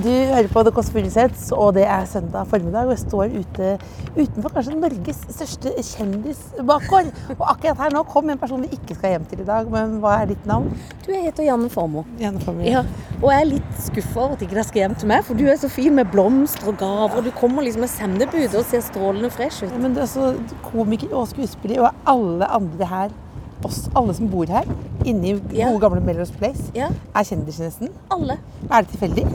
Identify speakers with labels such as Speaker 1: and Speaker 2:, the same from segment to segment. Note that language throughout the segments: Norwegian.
Speaker 1: Du hører på The Kåss Furuseths, og det er søndag formiddag. Og jeg står ute utenfor kanskje Norges største kjendisbakgård. Og akkurat her nå kom en person vi ikke skal hjem til i dag, men hva er ditt navn?
Speaker 2: Du, jeg heter Janne Formoe.
Speaker 1: Janne Familie.
Speaker 2: Ja, og jeg er litt skuffa over at ikke dere skal hjem til meg, for du er så fin med blomster og gaver. og Du kommer liksom med sendebud og ser strålende fresh ut.
Speaker 1: Men du er også komiker og skuespiller, og alle andre her, oss alle som bor her, inne i
Speaker 2: Ja.
Speaker 1: gode gamle Melrose Place,
Speaker 2: Ja.
Speaker 1: er kjendiser nesten.
Speaker 2: Alle.
Speaker 1: Er det tilfeldig?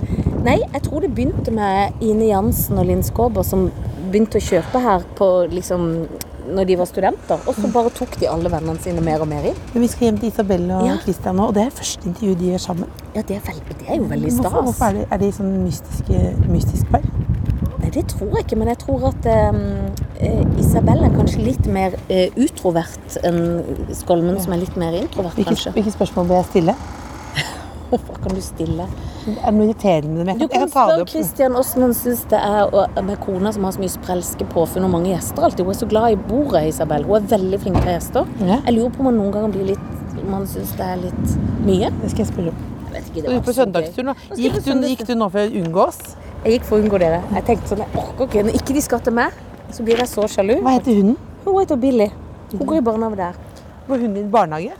Speaker 2: Nei, jeg tror det begynte med Ine Jansen og Linn Skåber som begynte å kjøpe her på liksom når de var studenter, og så bare tok de alle vennene sine mer og mer inn.
Speaker 1: Men vi skal hjem til Isabel og
Speaker 2: Ja.
Speaker 1: Christian nå, og det er første intervju de gjør sammen.
Speaker 2: Ja, det er, veldig, det er jo veldig stas.
Speaker 1: Hvorfor, hvorfor er de, er de sånn mystiske, mystisk par?
Speaker 2: Nei, det tror jeg ikke, men jeg tror at eh, eh, Isabel er kanskje litt mer eh, utrovert enn Skolmen, som er litt mer introvert,
Speaker 1: Hvilke,
Speaker 2: kanskje.
Speaker 1: hvilke spørsmål bør jeg stille?
Speaker 2: Hvorfor kan du stille?
Speaker 1: Er det noe irriterende med det?
Speaker 2: Du
Speaker 1: Jeg
Speaker 2: kan
Speaker 1: kan ta det
Speaker 2: spørre
Speaker 1: opp.
Speaker 2: Kristian hvordan han syns det er å- med kona som har så mye sprelske påfunn og mange gjester alltid. Hun er så glad i bordet, Isabel. Hun er veldig flink til gjester.
Speaker 1: Ja.
Speaker 2: Jeg lurer på om han noen ganger blir litt om han syns det er litt mye.
Speaker 1: Det skal jeg spørre om.
Speaker 2: Jeg vet ikke, det
Speaker 1: Du er
Speaker 2: var
Speaker 1: på
Speaker 2: så gøy.
Speaker 1: søndagstur nå.
Speaker 2: skal jeg
Speaker 1: Gikk
Speaker 2: på
Speaker 1: du,
Speaker 2: søndagstur.
Speaker 1: gikk du nå for å unngå oss?
Speaker 2: Jeg gikk for å unngå dere. Jeg tenkte sånn, jeg orker ikke. Når ikke de skal til meg, så blir jeg så sjalu.
Speaker 1: Hva heter hunden?
Speaker 2: Hun heter Billy. Hun går i barnehage der.
Speaker 1: Går hunden din i barnehage?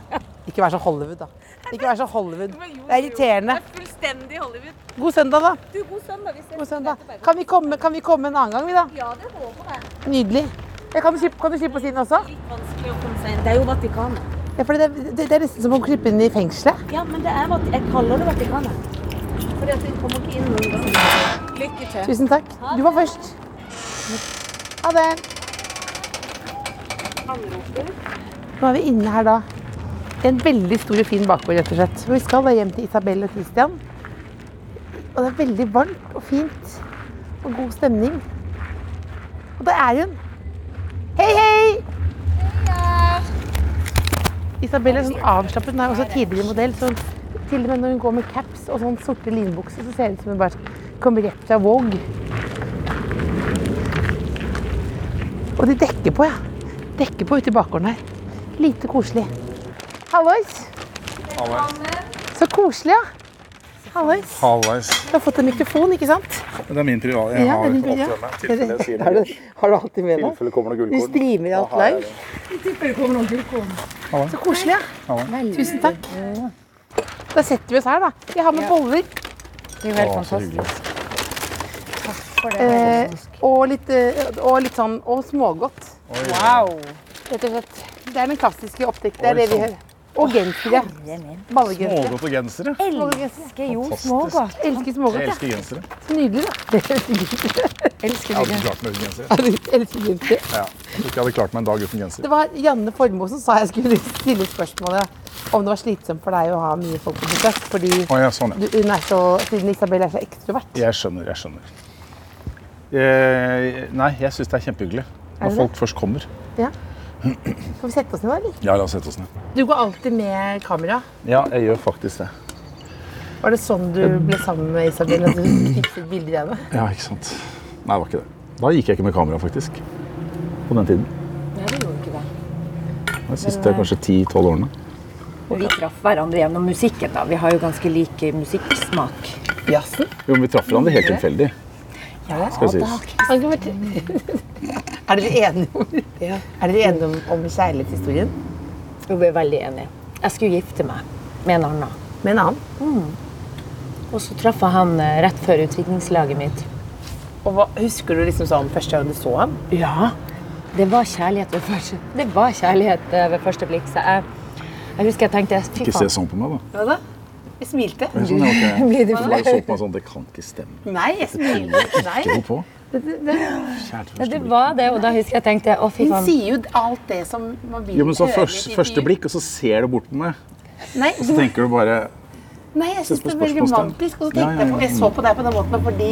Speaker 1: Ikke vær så Hollywood, da. Ikke vær så Hollywood. Det er irriterende.
Speaker 2: Fullstendig Hollywood.
Speaker 1: God søndag, da.
Speaker 2: Du, god søndag. Vi ses
Speaker 1: God søndag. Kan vi komme, kan vi komme en annen gang, vi, da?
Speaker 2: Ja, det håper jeg.
Speaker 1: Nydelig. Jeg kan, du slippe- kan du slippe oss inn også?
Speaker 2: Litt vanskelig å komme seg inn. Det er jo Vatikanet.
Speaker 1: Ja, for det, det, det er nesten som å klippe inn i fengselet.
Speaker 2: Ja, men det er Vat- jeg kaller det Vatikanet. Fordi at vi kommer ikke inn noen gang. Lykke til.
Speaker 1: Tusen takk. Du var først. Ha det. Nå er vi inne her da. I en veldig stor og fin bakgård, rett og slett. Vi skal da hjem til Isabel og Christian. Og det er veldig varmt og fint. Og god stemning. Og der er hun. Hei, hei! Isabel er sånn avslappet. Hun er også tidligere modell. Så til og med når hun går med caps og sånn sorte linbukser, så ser det ut som hun bare kommer rett fra Vogue. Og de dekker på, ja. Dekker på ute i bakgården her. Lite koselig. Hallois! Så koselig, ja. Hallois.
Speaker 3: Halvveis.
Speaker 1: Du har fått en mikrofon, ikke sant?
Speaker 3: Det er min privat. Jeg
Speaker 1: Ja,
Speaker 3: har
Speaker 1: det er din
Speaker 3: alltid
Speaker 1: privat.
Speaker 3: med meg. Tilfelle jeg sier
Speaker 1: Har
Speaker 3: noe.
Speaker 1: du, har du alltid med deg?
Speaker 3: Tilfelle kommer noe
Speaker 1: Du
Speaker 3: gullkorn.
Speaker 1: streamer alt
Speaker 3: Da har jeg
Speaker 1: live.
Speaker 3: det.
Speaker 1: Så koselig, ja. Tusen takk. Da setter vi oss her, da. Jeg har med boller.
Speaker 3: Å, så hyggelig.
Speaker 1: Eh, og, litt, eh, og litt sånn Og smågodt. Wow! Rett og slett. Det er den klassiske oppdekten. Det er
Speaker 3: Oi, sånn.
Speaker 1: det vi
Speaker 3: sant.
Speaker 1: hører. Og gensere. Ballegensere.
Speaker 3: Smågodt og gensere.
Speaker 1: Elsker
Speaker 3: Fantastisk.
Speaker 1: Elsker
Speaker 3: Jeg
Speaker 1: smågodt, ja.
Speaker 3: elsker gensere.
Speaker 1: Så nydelig, da.
Speaker 3: Jeg hadde ikke klart meg uten genser.
Speaker 1: Elsker gensere.
Speaker 3: Ja. Jeg tror ikke jeg hadde klart meg en dag uten genser.
Speaker 1: Det var Janne Formoe som sa jeg skulle stille spørsmålet om det var slitsomt for deg å ha mye folk på besøk. Fordi
Speaker 3: Å, ja, sånn, ja.
Speaker 1: du, hun er så, siden Isabel er så ekstrovert.
Speaker 3: Jeg skjønner, jeg skjønner. Eh, nei, jeg syns det er kjempehyggelig
Speaker 1: Er det
Speaker 3: når
Speaker 1: det?
Speaker 3: folk først kommer.
Speaker 1: Skal vi sette oss ned, da? eller?
Speaker 3: Ja, la oss sette oss ned.
Speaker 1: Du går alltid med kamera.
Speaker 3: Ja, jeg gjør faktisk det.
Speaker 1: Var det sånn du ble sammen med Isabel? At du fikset bilder av henne?
Speaker 3: Ja, ikke sant. Nei, det var ikke det. Da gikk jeg ikke med kamera, faktisk. På den tiden.
Speaker 2: Ja, det gjorde ikke det.
Speaker 3: De siste kanskje 10-12 årene.
Speaker 4: Og vi traff hverandre gjennom musikken. da. Vi har jo ganske lik eh, musikksmak.
Speaker 1: Jazzen?
Speaker 3: Jo, men vi traff hverandre helt tilfeldig.
Speaker 4: Ja,
Speaker 3: Skal sies.
Speaker 1: Han kan fortelle- Er dere enige om, er dere enige om, om kjærlighetshistorien
Speaker 4: Jo, vi er veldig enige. Jeg skulle gifte meg med en annen.
Speaker 1: med en annen?
Speaker 4: Og så traff jeg han eh, rett før utviklingslaget mitt.
Speaker 1: Og hva, husker du liksom sånn første gang du så ham?
Speaker 4: Ja, det var kjærlighet ved første, det var kjærlighet eh, ved første blikk. Så jeg, jeg husker jeg tenkte fy
Speaker 3: Ikke se
Speaker 4: faen,
Speaker 3: sånn på meg, da.
Speaker 1: Hva da? Jeg smilte.
Speaker 3: Jeg er Sånn, ja, ok.
Speaker 4: blir du
Speaker 3: Så
Speaker 4: flau?
Speaker 3: bare så på meg sånn, det kan ikke stemme.
Speaker 1: Nei, jeg smilte. Nei.
Speaker 3: Ikke hold på.
Speaker 4: Ja, Det var det, og da husker jeg tenkte å fy
Speaker 1: Hun
Speaker 4: faen.
Speaker 1: sier jo alt det som man vil
Speaker 3: Jo, men så
Speaker 1: høre i
Speaker 3: først,
Speaker 1: intervju.
Speaker 3: første blikk, og så ser du bort på meg.
Speaker 1: Nei,
Speaker 3: Så tenker du bare
Speaker 1: Nei, jeg syns det
Speaker 3: Sette
Speaker 1: er veldig
Speaker 3: spørsmålstegn.
Speaker 1: romantisk. Og så
Speaker 3: Ja, ja,
Speaker 1: tenkte jeg
Speaker 3: ja.
Speaker 1: på Jeg så på deg på den måten fordi,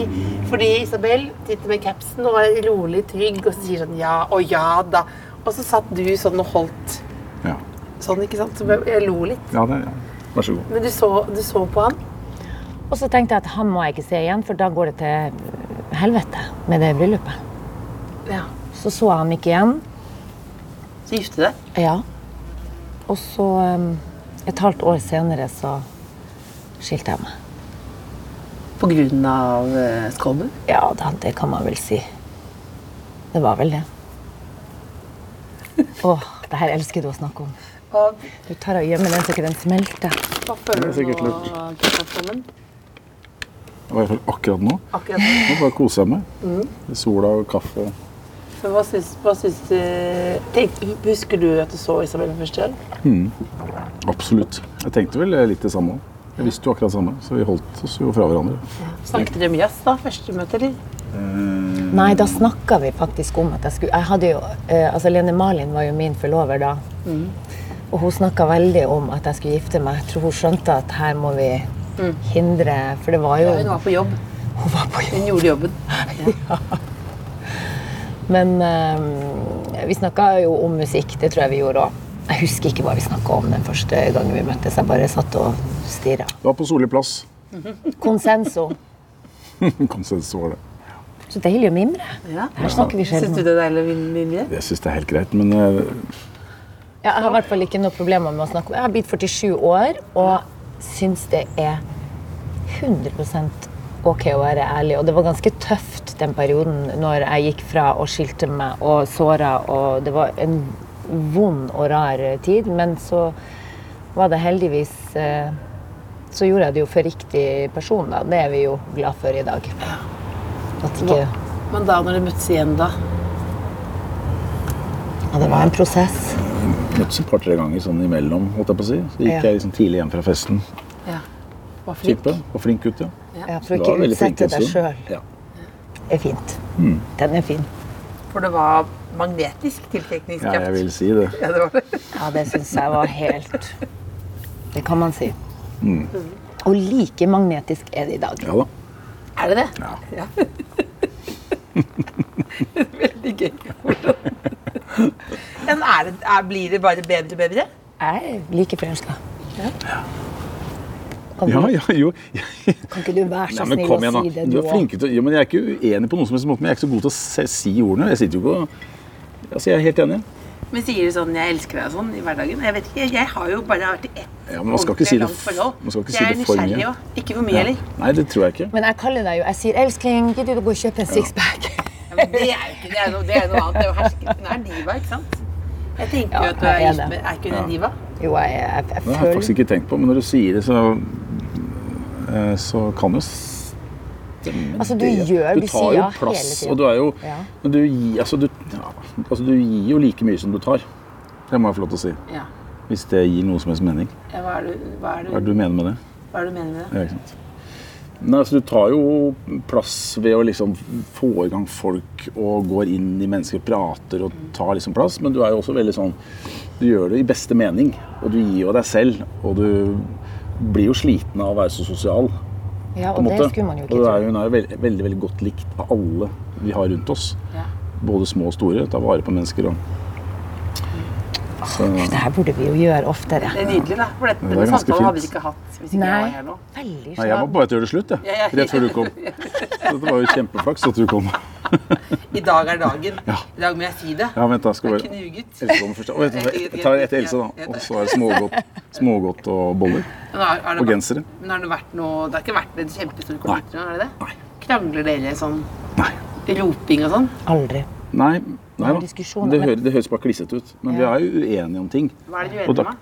Speaker 1: fordi Isabel sitter med capsen og er rolig, trygg og så sier sånn ja og ja da. Og så satt du sånn og holdt
Speaker 3: Ja.
Speaker 1: sånn, ikke sant. Så jeg jeg lo litt.
Speaker 3: ja, det, ja. Vær så god.
Speaker 1: Men du så, du så på han.
Speaker 4: Og så tenkte jeg at han må jeg ikke se igjen, for da går det til helvete med det bryllupet.
Speaker 1: Ja.
Speaker 4: Så så jeg ham ikke igjen.
Speaker 1: Så gifte deg.
Speaker 4: Ja. Og så, um, et halvt år senere, så skilte jeg meg.
Speaker 1: På grunn av skåben?
Speaker 4: Ja da, det kan man vel si. Det var vel det. Åh, det her elsker du å snakke om.
Speaker 1: Hva,
Speaker 4: Du tar og gjemmer den så ikke den smelter.
Speaker 1: hva
Speaker 3: Det
Speaker 1: føler
Speaker 3: er
Speaker 1: du
Speaker 3: sikkert
Speaker 1: nå,
Speaker 3: lurt.
Speaker 1: Kristiansen?
Speaker 3: I hvert fall akkurat nå.
Speaker 1: Akkurat nå. Mm.
Speaker 3: Nå bare koser jeg meg. Sola og kaffe.
Speaker 1: Men Hva syns, hva syns du tenk, Husker du at du så Isabel for første gang?
Speaker 3: Absolutt. Jeg tenkte vel litt det samme òg. Jeg visste jo akkurat det samme, så vi holdt oss jo fra hverandre.
Speaker 1: Snakket dere mye jazz da? Første møte, eller?
Speaker 4: Nei, da snakka vi faktisk om at jeg skulle Jeg hadde jo eh, Altså, Lene Malin var jo min forlover da.
Speaker 1: Mm.
Speaker 4: Og hun snakka veldig om at jeg skulle gifte meg. Jeg tror hun skjønte at her må vi hindre For det var jo
Speaker 1: Hun Mm. var på jobb.
Speaker 4: Hun var på
Speaker 1: Hun gjorde jobben.
Speaker 4: Men eh, vi snakka jo om musikk, det tror jeg vi gjorde òg. Jeg husker ikke hva vi snakka om den første gangen vi møttes. Jeg bare satt og stirra.
Speaker 3: Det var på Solli plass.
Speaker 4: Konsenso.
Speaker 3: Konsensus var det.
Speaker 4: Så deilig å mimre.
Speaker 1: Ja.
Speaker 4: Her snakker vi
Speaker 1: Syns du
Speaker 4: sjelden.
Speaker 1: det er deilig å vinne?
Speaker 3: Jeg syns det er helt greit, men eh,
Speaker 4: Ja, Jeg har i hvert fall ikke noe problemer med å snakke om Jeg har blitt 47 år og syns det er 100 ok å være ærlig. Og det var ganske tøft den perioden når jeg gikk fra og skilte meg og såra, og det var en vond og rar tid. Men så var det heldigvis eh, Så gjorde jeg det jo for riktig person, da. Det er vi jo glad for i dag. At ikke Ja,
Speaker 1: Men da når du møttes igjen, da?
Speaker 4: det var en prosess.
Speaker 3: møttes et par-tre ganger sånn imellom, holdt jeg på å si. Så gikk
Speaker 4: Ja.
Speaker 3: jeg liksom tidlig hjem fra festen.
Speaker 1: Var flink?
Speaker 3: Type. Og flink gutt, ja.
Speaker 4: Ja, for
Speaker 3: Du var
Speaker 4: å ikke
Speaker 3: veldig flink Mm.
Speaker 4: utsette
Speaker 3: en
Speaker 4: deg
Speaker 3: stund.
Speaker 4: sjøl
Speaker 3: Ja.
Speaker 4: er fint. Den er fin.
Speaker 1: For det var magnetisk tiltrekningskraft.
Speaker 3: ja, jeg vil si det.
Speaker 1: Ja, det var det.
Speaker 4: Ja, det syns jeg var helt Det kan man si.
Speaker 3: Mm.
Speaker 4: Og like magnetisk er det i dag.
Speaker 3: Ja da.
Speaker 1: Er det det?
Speaker 3: Ja.
Speaker 1: Veldig gøy. Men er det, er, blir det bare bedre og bedre?
Speaker 4: Jeg er like forelska. Kan,
Speaker 3: ja,
Speaker 4: du-
Speaker 3: ja jo.
Speaker 4: kan ikke du være så
Speaker 3: Nei, men
Speaker 4: snill
Speaker 3: kom igjen,
Speaker 4: å
Speaker 3: da.
Speaker 4: si det,
Speaker 3: Du
Speaker 4: du
Speaker 3: er
Speaker 4: òg?
Speaker 3: flink til å ja, men Jeg er ikke uenig på noen som helst måte, men jeg er ikke så god til å se, si ordene. Jeg sitter jo ikke og Altså, jeg er helt enig.
Speaker 1: Men sier du sånn 'jeg elsker deg' og sånn i hverdagen? Jeg vet ikke, jeg har jo bare vært i ett
Speaker 3: Ja, men man skal ikke si det,
Speaker 1: ordentlig langt forhold.
Speaker 3: man skal ikke si
Speaker 1: jeg er
Speaker 3: det for
Speaker 1: nysgjerrig
Speaker 3: mye.
Speaker 1: òg. Ikke for mye heller.
Speaker 3: Nei, det tror jeg ikke.
Speaker 4: Men jeg kaller deg jo Jeg sier 'elskling, gidder du å gå og kjøpe en sixpack'?
Speaker 1: Ja, men det er jo ikke det er noe, det er noe annet. Det er jo herske. Hun er diva, ikke sant? Jeg tenker jo
Speaker 4: Ja,
Speaker 1: at du er
Speaker 4: jeg er
Speaker 1: gift
Speaker 4: det.
Speaker 1: med Er ikke hun en diva?
Speaker 4: Jo, jeg, jeg, jeg
Speaker 3: Det har jeg
Speaker 4: føler
Speaker 3: faktisk ikke tenkt på, men når du sier det, så eh, Så kan jo stemme
Speaker 4: Altså, du
Speaker 3: det.
Speaker 4: gjør-
Speaker 3: Du
Speaker 4: du
Speaker 3: tar
Speaker 4: sier
Speaker 3: jo
Speaker 4: ja hele
Speaker 3: plass,
Speaker 4: tiden.
Speaker 3: og du er jo
Speaker 4: Ja.
Speaker 3: Men du, gi- altså, du, ja, altså, du gir jo like mye som du tar. Det må jeg få lov til å si.
Speaker 1: Ja.
Speaker 3: Hvis det gir noe som helst mening.
Speaker 1: Ja, Hva er det du, hva er
Speaker 3: Hva
Speaker 1: det
Speaker 3: er det du mener med det?
Speaker 1: hva er det du mener med det?
Speaker 3: Ja, ikke sant. Nei, altså, du tar jo plass ved å liksom få i gang folk og går inn i mennesker, prater og tar liksom plass, men du er jo også veldig sånn Du gjør det i beste mening, og du gir jo deg selv, og du blir jo sliten av å være så sosial.
Speaker 4: Ja,
Speaker 3: på
Speaker 4: og
Speaker 3: en måte.
Speaker 4: det skulle man jo ikke
Speaker 3: og du er,
Speaker 4: tro.
Speaker 3: jo- hun er jo veldig, veldig, veldig godt likt av alle vi har rundt oss. Både små og store. Ta vare på mennesker og så,
Speaker 4: Det her burde vi jo gjøre oftere.
Speaker 1: Det er nydelig, da. For dette,
Speaker 3: er
Speaker 1: denne
Speaker 3: ganske
Speaker 1: samtalen hadde vi
Speaker 3: fint.
Speaker 1: ikke hatt hvis ikke jeg var
Speaker 4: Nei.
Speaker 1: her nå.
Speaker 4: Veldig
Speaker 3: Nei, jeg var
Speaker 4: slapp.
Speaker 3: på vei til å gjøre det slutt, jeg.
Speaker 1: Ja, ja.
Speaker 3: Rett før du kom. Så det var jo kjempeflaks at du kom.
Speaker 1: I dag er dagen.
Speaker 3: Ja.
Speaker 1: I dag må jeg si det.
Speaker 3: Ja, vent, da skal
Speaker 1: Jeg er
Speaker 3: jeg bare
Speaker 1: knuget.
Speaker 3: Else kommer først. Å, vet du hva, Jeg tar etter Else, da. Og så er det smågodt, smågodt og boller.
Speaker 1: Men har, har det
Speaker 3: Og
Speaker 1: vært-
Speaker 3: gensere.
Speaker 1: Men har det vært noe Det har ikke vært en kjempestor konflikt? nå, er det det?
Speaker 3: Nei.
Speaker 1: Krangler dere sånn
Speaker 3: Nei.
Speaker 1: roping og sånn?
Speaker 4: Aldri.
Speaker 3: Nei, nei da.
Speaker 4: diskusjoner,
Speaker 3: Det,
Speaker 4: men-
Speaker 3: hører, det høres bare klissete ut. Men vi
Speaker 4: Ja.
Speaker 3: er jo uenige om ting.
Speaker 1: Hva er det du er
Speaker 3: Og da-
Speaker 1: enig med?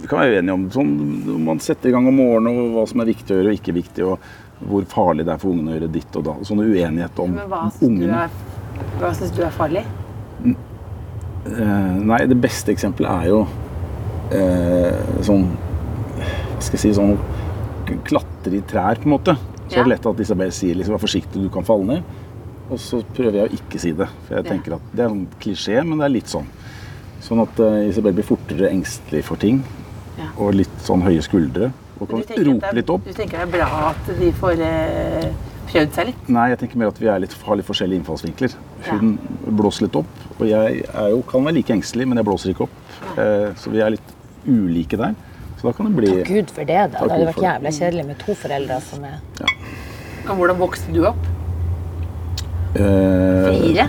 Speaker 3: Vi kan være uenige om sånn, om man setter i gang om morgenen, og hva som er viktig å gjøre og ikke viktig, og hvor farlig det er for ungene å gjøre ditt og da. Sånn uenighet om
Speaker 1: Men hva syns du
Speaker 3: ungene.
Speaker 1: er, hva synes du er farlig?
Speaker 3: Eh, Nei, det beste eksempelet er jo eh, sånn Hva skal jeg si sånn k- Klatre i trær, på en måte. Så
Speaker 1: Ja.
Speaker 3: er det lett at Isabel sier liksom, 'vær forsiktig, du kan falle ned'. Og så prøver jeg å ikke si det. For jeg
Speaker 1: Ja.
Speaker 3: tenker at Det er en klisjé, men det er litt sånn. Sånn at eh, Isabel blir fortere engstelig for ting.
Speaker 1: Ja.
Speaker 3: Og litt sånn høye skuldre. folk
Speaker 1: Du
Speaker 3: kan
Speaker 1: tenker at det
Speaker 3: rope
Speaker 1: er-
Speaker 3: litt opp.
Speaker 1: Du tenker det er bra at de får eh, prøvd seg litt?
Speaker 3: Nei, jeg tenker mer at vi er litt, har litt forskjellige innfallsvinkler. Hun blåser litt opp, og jeg er jo, kan være like engstelig, men jeg blåser ikke opp. Eh, så vi er litt ulike der. Så da kan det bli
Speaker 4: Gud for det, da. Det hadde
Speaker 3: Gud
Speaker 4: vært
Speaker 3: for det.
Speaker 4: jævla kjedelig med to foreldre som er
Speaker 1: Og hvordan vokste du opp?
Speaker 3: eh,
Speaker 1: Fire?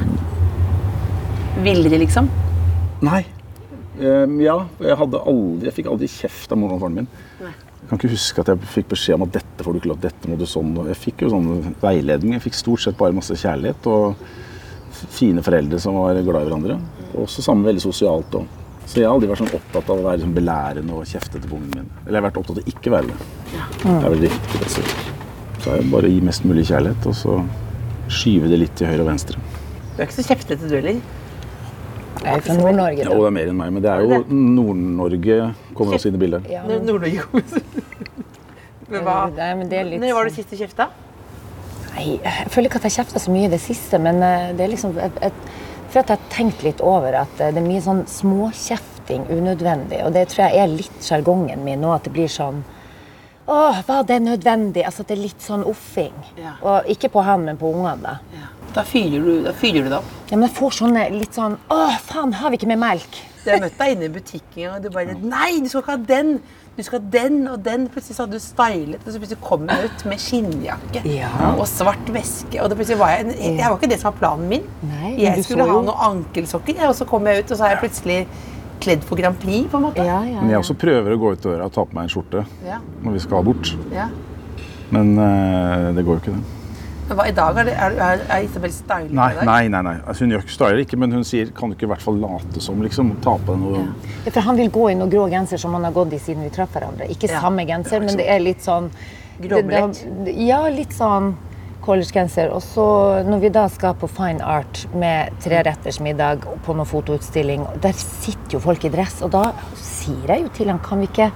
Speaker 1: Villere, liksom?
Speaker 3: Nei. Eh, ja, jeg, hadde aldri, jeg fikk aldri kjeft av moren og faren min. Jeg kan ikke huske at jeg fikk beskjed om at dette får du ikke lov dette må du sånn. og Jeg fikk jo sånn veiledning. Jeg fikk stort sett bare masse kjærlighet og f- fine foreldre som var glad i hverandre. Og også sammen veldig sosialt òg. Så jeg har aldri vært sånn opptatt av å være sånn belærende og kjeftete på ungen min. Eller jeg har vært opptatt av å ikke være det. Det er vel riktig. altså. Så er det bare å gi mest mulig kjærlighet, og så skyve det litt til høyre og venstre.
Speaker 1: Du er ikke så kjeftete, du heller.
Speaker 4: Jeg er fra Nord-Norge.
Speaker 3: Ja, og
Speaker 4: da.
Speaker 3: det er mer enn meg, men det er jo Nord-Norge kommer også inn i bildet.
Speaker 4: Ja,
Speaker 1: Når Nord-Norge kommer Men hva?
Speaker 4: Nei, men det er litt
Speaker 1: Når var
Speaker 4: sånn-
Speaker 1: det sist du kjefta?
Speaker 4: Nei, jeg føler ikke at jeg kjefta så mye i det siste, men eh, det er liksom et, et, For at jeg har tenkt litt over at eh, det er mye sånn småkjefting unødvendig. Og det tror jeg er litt sjargongen min nå, at det blir sånn Åh, var det nødvendig? Altså at det er litt sånn offing.
Speaker 1: Ja.
Speaker 4: Og ikke på han, men på ungene. da.
Speaker 1: Da fyrer du, da fyrer du det opp.
Speaker 4: Ja, men jeg får sånne litt sånn Åh, faen, har vi ikke mer melk?
Speaker 1: Jeg møtte deg inne i butikken, og du bare Nei, du skal ikke ha den! Du skal ha den og den. Plutselig så hadde du stylet, og så plutselig kom hun ut med skinnjakke
Speaker 4: Ja.
Speaker 1: og svart veske. Og det plutselig var jeg, en, jeg var ikke det som var planen min.
Speaker 4: Nei, men du
Speaker 1: jeg
Speaker 4: så
Speaker 1: skulle ha
Speaker 4: jo-
Speaker 1: noen ankelsokker, jeg, og så kom jeg ut, og så er jeg plutselig kledd for Grand Prix, på en måte.
Speaker 4: Ja, ja.
Speaker 3: Men jeg også prøver å gå ut døra og ta på meg en skjorte
Speaker 1: Ja.
Speaker 3: når vi skal bort.
Speaker 1: Ja.
Speaker 3: Men eh, det går jo ikke, det.
Speaker 1: Men hva i dag? Er, det, er, er, er Isabel stylet
Speaker 3: Nei,
Speaker 1: i dag?
Speaker 3: nei, nei. nei. Altså, hun gjør ikke styler ikke, men hun sier kan du ikke i hvert fall late som, liksom. Ta på deg noe
Speaker 4: Det er For han vil gå i noe grå genser som han har gått i siden vi traff hverandre. Ikke
Speaker 1: Ja.
Speaker 4: samme genser, men det er litt sånn det- det-
Speaker 1: Gråmelett.
Speaker 4: Ja, litt sånn collegegenser. Og så når vi da skal på Fine Art med treretters middag og på noen fotoutstilling, og der sitter jo folk i dress, og da sier jeg jo til han kan vi ikke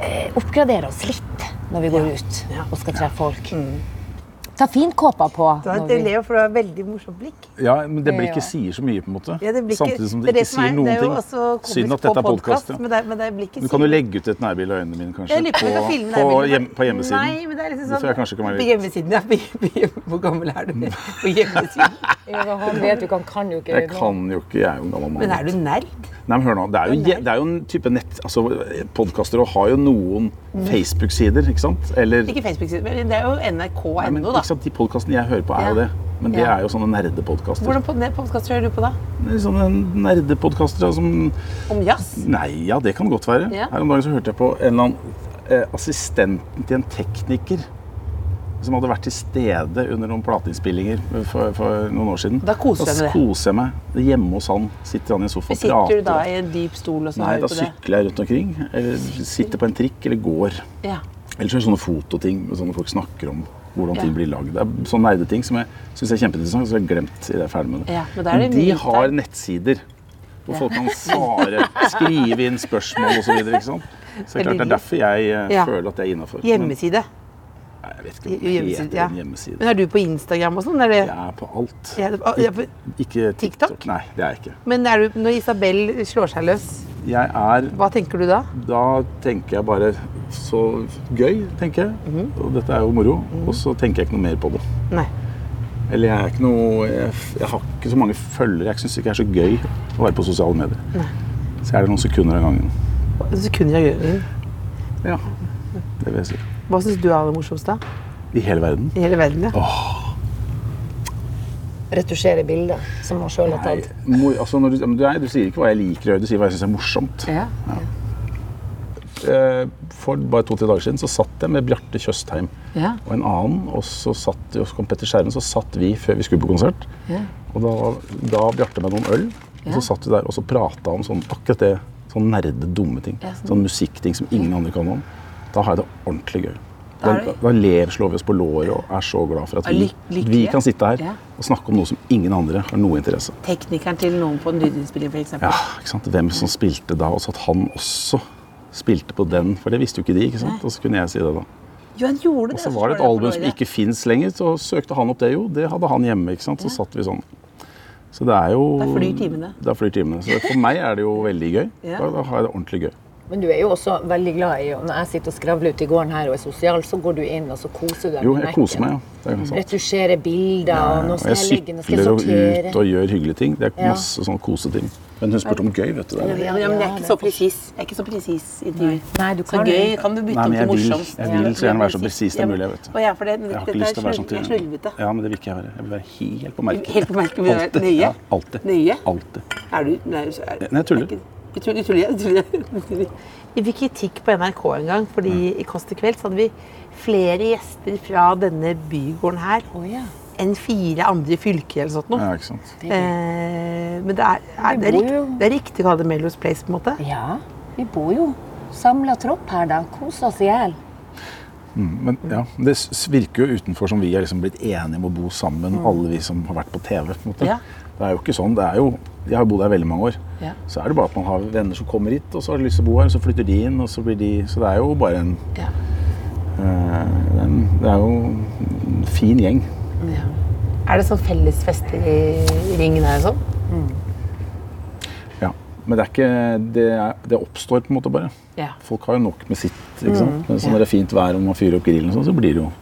Speaker 4: eh, oppgradere oss litt når vi går ut og skal treffe folk. Ta finkåpa på.
Speaker 1: Du har
Speaker 4: når
Speaker 1: et
Speaker 4: vi-
Speaker 1: elev, for du har et veldig morsomt blikk.
Speaker 3: Ja, men det blir
Speaker 4: Ja.
Speaker 3: ikke sier så mye, på en måte.
Speaker 1: Ja, det blir ikke-
Speaker 3: Samtidig som det, ikke
Speaker 1: som er-
Speaker 3: sier noen
Speaker 1: Det er jo
Speaker 3: ting.
Speaker 1: også komisk
Speaker 3: Synd at dette
Speaker 1: på
Speaker 3: er podkast.
Speaker 1: podcast,
Speaker 3: Ja.
Speaker 1: Men det, er- men det blir ikke
Speaker 3: Du kan jo
Speaker 1: synd.
Speaker 3: legge ut et nærbilde av øynene mine, kanskje.
Speaker 1: Jeg lurer på om vi kan filme
Speaker 3: på,
Speaker 1: nærbildet.
Speaker 3: hjem, på hjemmesiden.
Speaker 1: Nei, men det er liksom
Speaker 3: Det
Speaker 1: sånn
Speaker 3: tror jeg kanskje kan
Speaker 1: På
Speaker 3: være litt
Speaker 1: hjemmesiden, ja. På hjem- Hvor gammel er du? På hjemmesiden.
Speaker 4: Ja, men han vet jo ikke, han kan jo ikke
Speaker 3: Jeg kan jo ikke, jeg er jo en gammel mann.
Speaker 1: Men er du nerd?
Speaker 3: Nei, men hør nå, det er jo, det er jo en type nett... Altså, Podkaster har jo noen Facebook-sider, ikke sant? Eller
Speaker 1: Mhm. Ikke Facebook-siden, men det er jo
Speaker 3: Nei, men,
Speaker 1: nrk.no, da.
Speaker 3: ikke sant, De podkastene jeg hører på, er jo
Speaker 1: Ja.
Speaker 3: det. Men det
Speaker 4: Ja.
Speaker 3: er jo sånne nerdepodkaster.
Speaker 1: Hvordan pod- podkaster hører du på da?
Speaker 3: Det er Sånne nerdepodkaster da, som
Speaker 1: Om jazz?
Speaker 3: Nei, ja, det kan godt være.
Speaker 1: Ja.
Speaker 3: Her om dagen så hørte jeg på en eller annen eh, assistenten til en tekniker som hadde vært til stede under noen plateinnspillinger for, for noen år siden.
Speaker 1: Da koser
Speaker 3: da
Speaker 1: jeg med det.
Speaker 3: koser jeg meg. Hjemme hos han sitter han i en sofa og
Speaker 1: Sitter du
Speaker 3: prater.
Speaker 1: da i en dyp stol og så
Speaker 3: Nei,
Speaker 1: hører
Speaker 3: da
Speaker 1: på det?
Speaker 3: sykler jeg rundt omkring. Eller sitter på en trikk eller går.
Speaker 1: Ja.
Speaker 3: Ellers er det sånne fototing sånne folk snakker om hvordan ting blir lagd. Det er sånne nerdeting som jeg syns er kjempeinteressant, så jeg har glemt i det jeg er ferdig med det.
Speaker 1: Ja, men da er det
Speaker 3: de
Speaker 1: mye
Speaker 3: har
Speaker 1: der.
Speaker 3: nettsider hvor folk kan svare, skrive inn spørsmål osv. Så, videre, ikke sant? så det er klart det er derfor jeg eh,
Speaker 1: Ja.
Speaker 3: føler at jeg er innafor.
Speaker 1: Hjemmeside.
Speaker 3: Jeg vet ikke
Speaker 1: Jo,
Speaker 3: om det
Speaker 1: Hjemmeside,
Speaker 3: heter
Speaker 1: ja.
Speaker 3: en
Speaker 1: Men
Speaker 3: hjemmeside.
Speaker 1: er du på Instagram og sånn? Er det?
Speaker 3: Jeg er på alt.
Speaker 1: Ja, det- ja, på-
Speaker 3: Ikke TikTok.
Speaker 1: TikTok?
Speaker 3: Nei, det er jeg ikke.
Speaker 1: Men er du, når Isabel slår seg løs,
Speaker 3: Jeg er
Speaker 1: hva tenker du da?
Speaker 3: Da tenker jeg bare Så gøy, tenker jeg. Og dette er jo moro. Og så tenker jeg ikke noe mer på det.
Speaker 1: Nei.
Speaker 3: Eller jeg er ikke noe Jeg, jeg har ikke så mange følgere. Jeg syns ikke det er så gøy å være på sosiale medier. Så jeg er det noen sekunder av gangen.
Speaker 1: Sekunder av gangen.
Speaker 3: Ja, det vil jeg si.
Speaker 1: Hva syns du er aller morsomst da?
Speaker 3: I hele verden.
Speaker 1: I hele verden, ja.
Speaker 4: retusjere bildet som han sjøl har
Speaker 3: Nei,
Speaker 4: tatt.
Speaker 3: mor, altså når du, men du, er- du sier ikke hva jeg liker å gjøre, du sier hva jeg syns er morsomt.
Speaker 1: Ja.
Speaker 3: Eh, For bare to-tre dager siden så satt jeg med Bjarte Tjøstheim
Speaker 1: Ja.
Speaker 3: og en annen. Og så satt, og så kom Petter Skjerven, så satt vi før vi skulle på konsert. Og da ga Bjarte meg noen øl, og så satt vi der og så prata om sånn, akkurat det. Sånn nerde, dumme ting. sånn. musikkting som ingen andre kan om. Da har jeg det ordentlig gøy. Da,
Speaker 1: er det-
Speaker 3: da lever, slår vi oss på låret og er så glad for at
Speaker 1: Er
Speaker 3: vi,
Speaker 1: lyk- lykkelige?
Speaker 3: vi kan sitte her
Speaker 1: Ja.
Speaker 3: og snakke om noe som ingen andre har noe interesse av.
Speaker 1: Teknikeren til noen på en lydinnspiller, f.eks.
Speaker 3: Ja, ikke sant? Hvem som spilte da, og så at han også spilte på den. For det visste jo ikke de, ikke sant? Og så kunne jeg si det da.
Speaker 1: Jo, han gjorde det.
Speaker 3: Og så var det et album som ikke fins lenger, så søkte han opp det. Jo, det hadde han hjemme. ikke sant? Så satt vi sånn. Så det er jo
Speaker 1: Da flyr timene.
Speaker 3: Da flyr timene. Så for meg er det jo veldig gøy.
Speaker 1: Ja.
Speaker 3: Da, da har jeg det ordentlig gøy.
Speaker 4: Men du er jo også veldig glad i og Når jeg sitter og skravler ute i gården her og er sosial, så går du inn og så koser du deg.
Speaker 3: Jo,
Speaker 4: med
Speaker 3: jeg koser meg,
Speaker 4: Mac-en.
Speaker 3: ja. Det er jo sant.
Speaker 4: Retusjerer bilder, og nå
Speaker 3: Og
Speaker 4: skal
Speaker 3: jeg
Speaker 4: jeg, legge, nå skal jeg
Speaker 3: sykler og
Speaker 4: sortere.
Speaker 3: ut og gjør hyggelige ting. Det er
Speaker 4: Ja.
Speaker 3: masse sånn koseting. Men hun spurte om gøy, vet du. Det er det.
Speaker 5: Ja, men jeg er ikke så presis. Jeg er ikke så presis i intervjuer.
Speaker 4: Nei, du
Speaker 5: Så
Speaker 4: kan
Speaker 5: gøy kan du bytte
Speaker 3: Nei,
Speaker 5: om
Speaker 3: men
Speaker 5: til
Speaker 3: jeg vil,
Speaker 5: morsomt.
Speaker 3: jeg vil så gjerne være så presis det er mulig. Jeg vet
Speaker 5: Å ja, for det,
Speaker 3: Jeg har
Speaker 5: dette
Speaker 3: ikke lyst til å
Speaker 5: er
Speaker 3: være sånn til
Speaker 5: slurv- slurvete.
Speaker 3: Ja, men det vil ikke jeg være. Jeg vil være helt på merket.
Speaker 5: Helt på merket, men
Speaker 3: Alltid.
Speaker 5: nøye?
Speaker 3: Ja, alltid.
Speaker 5: Nøye?
Speaker 3: Alltid.
Speaker 5: Er du Nei, så er,
Speaker 3: Nei, jeg tuller.
Speaker 5: er ikke- Du tuller, tuller, jeg tuller. jeg tuller.
Speaker 1: Vi fikk kritikk på NRK en gang, fordi
Speaker 3: Mm.
Speaker 1: i Kåss til kveld så hadde vi flere gjester fra denne bygården her
Speaker 4: ja.
Speaker 1: enn fire andre fylker eller sånt noe.
Speaker 3: Ja, ikke sant.
Speaker 1: Eh, men det er, er, det, er
Speaker 4: Vi bor
Speaker 1: riktig,
Speaker 4: jo-
Speaker 1: det er riktig å kalle det Mellows Place, på en måte.
Speaker 4: Ja, vi bor jo samla tropp her, da. Kos oss i hjel.
Speaker 3: Men ja, det s- virker jo utenfor som vi er liksom blitt enige om å bo sammen,
Speaker 4: Mm.
Speaker 3: alle vi som har vært på TV. på en måte.
Speaker 1: Ja.
Speaker 3: Det er jo ikke sånn. det er jo, Jeg har jo bodd her veldig mange år.
Speaker 4: Ja.
Speaker 3: Så er det bare at man har venner som kommer hit, og så har de lyst til å bo her, og så flytter de inn, og så blir de Så det er jo bare en
Speaker 4: Ja.
Speaker 3: eh, det er en- Det er jo en fin gjeng.
Speaker 1: Er det sånn fellesfester i i ringen her og sånn?
Speaker 3: Ja. Men det er ikke Det, er, det oppstår på en måte bare.
Speaker 1: Ja.
Speaker 3: Folk har jo nok med sitt. ikke sant?
Speaker 4: Mm.
Speaker 3: Men så når det er fint vær og man fyrer opp grillen, og sånn, så blir det jo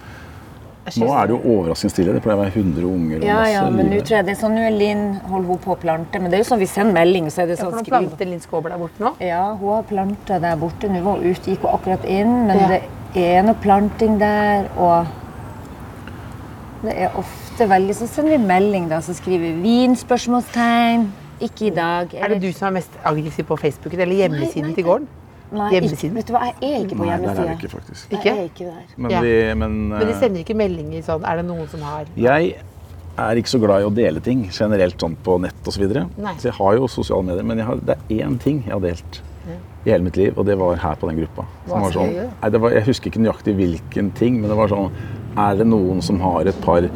Speaker 3: Nå er det jo overraskende stille. Det pleier å være 100 unger og
Speaker 4: Ja, ja,
Speaker 3: masse
Speaker 4: men
Speaker 3: liv
Speaker 4: nå
Speaker 3: her.
Speaker 4: tror jeg det er sånn, nå er Linn holder hun på å plante, men det er jo sånn vi sender melding, så er det
Speaker 1: Ja,
Speaker 4: sånn
Speaker 1: for nå
Speaker 4: skriv.
Speaker 1: planter Linn Skåber der borte nå.
Speaker 4: Ja, hun har planta der borte nå, og ut gikk hun akkurat inn, men det er noe planting der, og det er ofte veldig Så sender vi melding, da, så skriver vi vin? spørsmålstegn. Ikke i dag.
Speaker 1: Er det du som er mest aggressiv på Facebooken eller hjemmesiden til gården?
Speaker 4: Nei,
Speaker 1: hjemmesiden?
Speaker 4: ikke, vet du hva, jeg er ikke på
Speaker 3: Nei, der er vi
Speaker 4: hjemmesida.
Speaker 3: ikke, faktisk.
Speaker 1: Ikke?
Speaker 4: Jeg er ikke der.
Speaker 3: Men,
Speaker 1: Ja.
Speaker 3: vi, men,
Speaker 1: Men de
Speaker 3: eh,
Speaker 1: sender ikke meldinger sånn Er det noen som har
Speaker 3: Jeg er ikke så glad i å dele ting generelt sånn på nett osv. Så, videre.
Speaker 1: Nei.
Speaker 3: så jeg har jo sosiale medier, men jeg har, det er én ting jeg har delt i hele mitt liv, og det var her på den gruppa. Som var sånn, nei, det var, jeg husker ikke nøyaktig hvilken ting, men det var sånn Er det noen som har et par uh,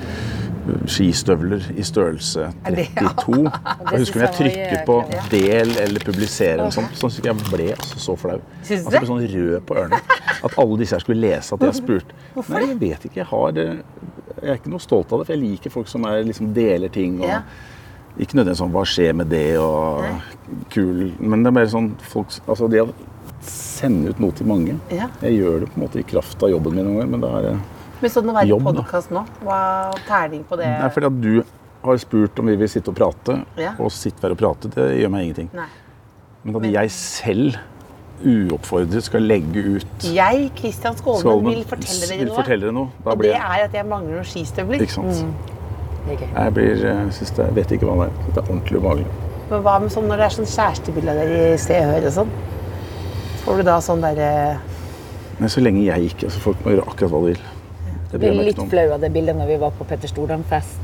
Speaker 3: skistøvler i størrelse 32? Og jeg husker når jeg
Speaker 4: synes jeg
Speaker 3: trykket på
Speaker 4: var
Speaker 3: del eller publisere eller sånt, så husker jeg jeg ble altså så flau. At
Speaker 1: Syns du
Speaker 3: jeg ble sånn rød på ørene. At alle disse her skulle lese at jeg har spurt. Nei, jeg vet ikke. Jeg har eh, jeg er ikke noe stolt av det, for jeg liker folk som er, liksom, deler ting. Og, Ikke nødvendigvis sånn 'hva skjer med det' og kul Men det er mer sånn folk Altså det å sende ut noe til mange
Speaker 1: Ja.
Speaker 3: Jeg gjør det på en måte i kraft av jobben min noen ganger, men da er det
Speaker 1: Men sånn å være
Speaker 3: Jobb,
Speaker 1: i
Speaker 3: da.
Speaker 1: podkast nå, hva terning på det?
Speaker 3: Det er fordi at du har spurt om vi vil sitte og prate,
Speaker 1: Ja.
Speaker 3: og sitte her og prate, det gjør meg ingenting.
Speaker 1: Nei.
Speaker 3: Men at jeg selv uoppfordret skal legge ut
Speaker 1: Jeg, Kristian Skålmen,
Speaker 3: Skålmen,
Speaker 1: vil fortelle
Speaker 3: vil
Speaker 1: dere noe.
Speaker 3: fortelle dere noe. Da
Speaker 1: Og
Speaker 3: blir
Speaker 1: det Mm.
Speaker 3: jeg
Speaker 1: er at jeg mangler noen skistøvler.
Speaker 3: Ikke sant. Jeg blir, eh, synes det, jeg vet ikke hva det er. Det er ordentlig ubehagelig.
Speaker 1: Men hva med sånn når det er sånn kjærestebilde av dere i Se og Hør og sånn? Får du da sånn derre
Speaker 3: Men så lenge jeg ikke altså Folk må gjøre akkurat hva de vil. Det bryr jeg
Speaker 4: Jeg ble
Speaker 3: meg
Speaker 4: litt
Speaker 3: ikke noe om.
Speaker 4: flau av det bildet når vi var på Petter Stordalen-fest.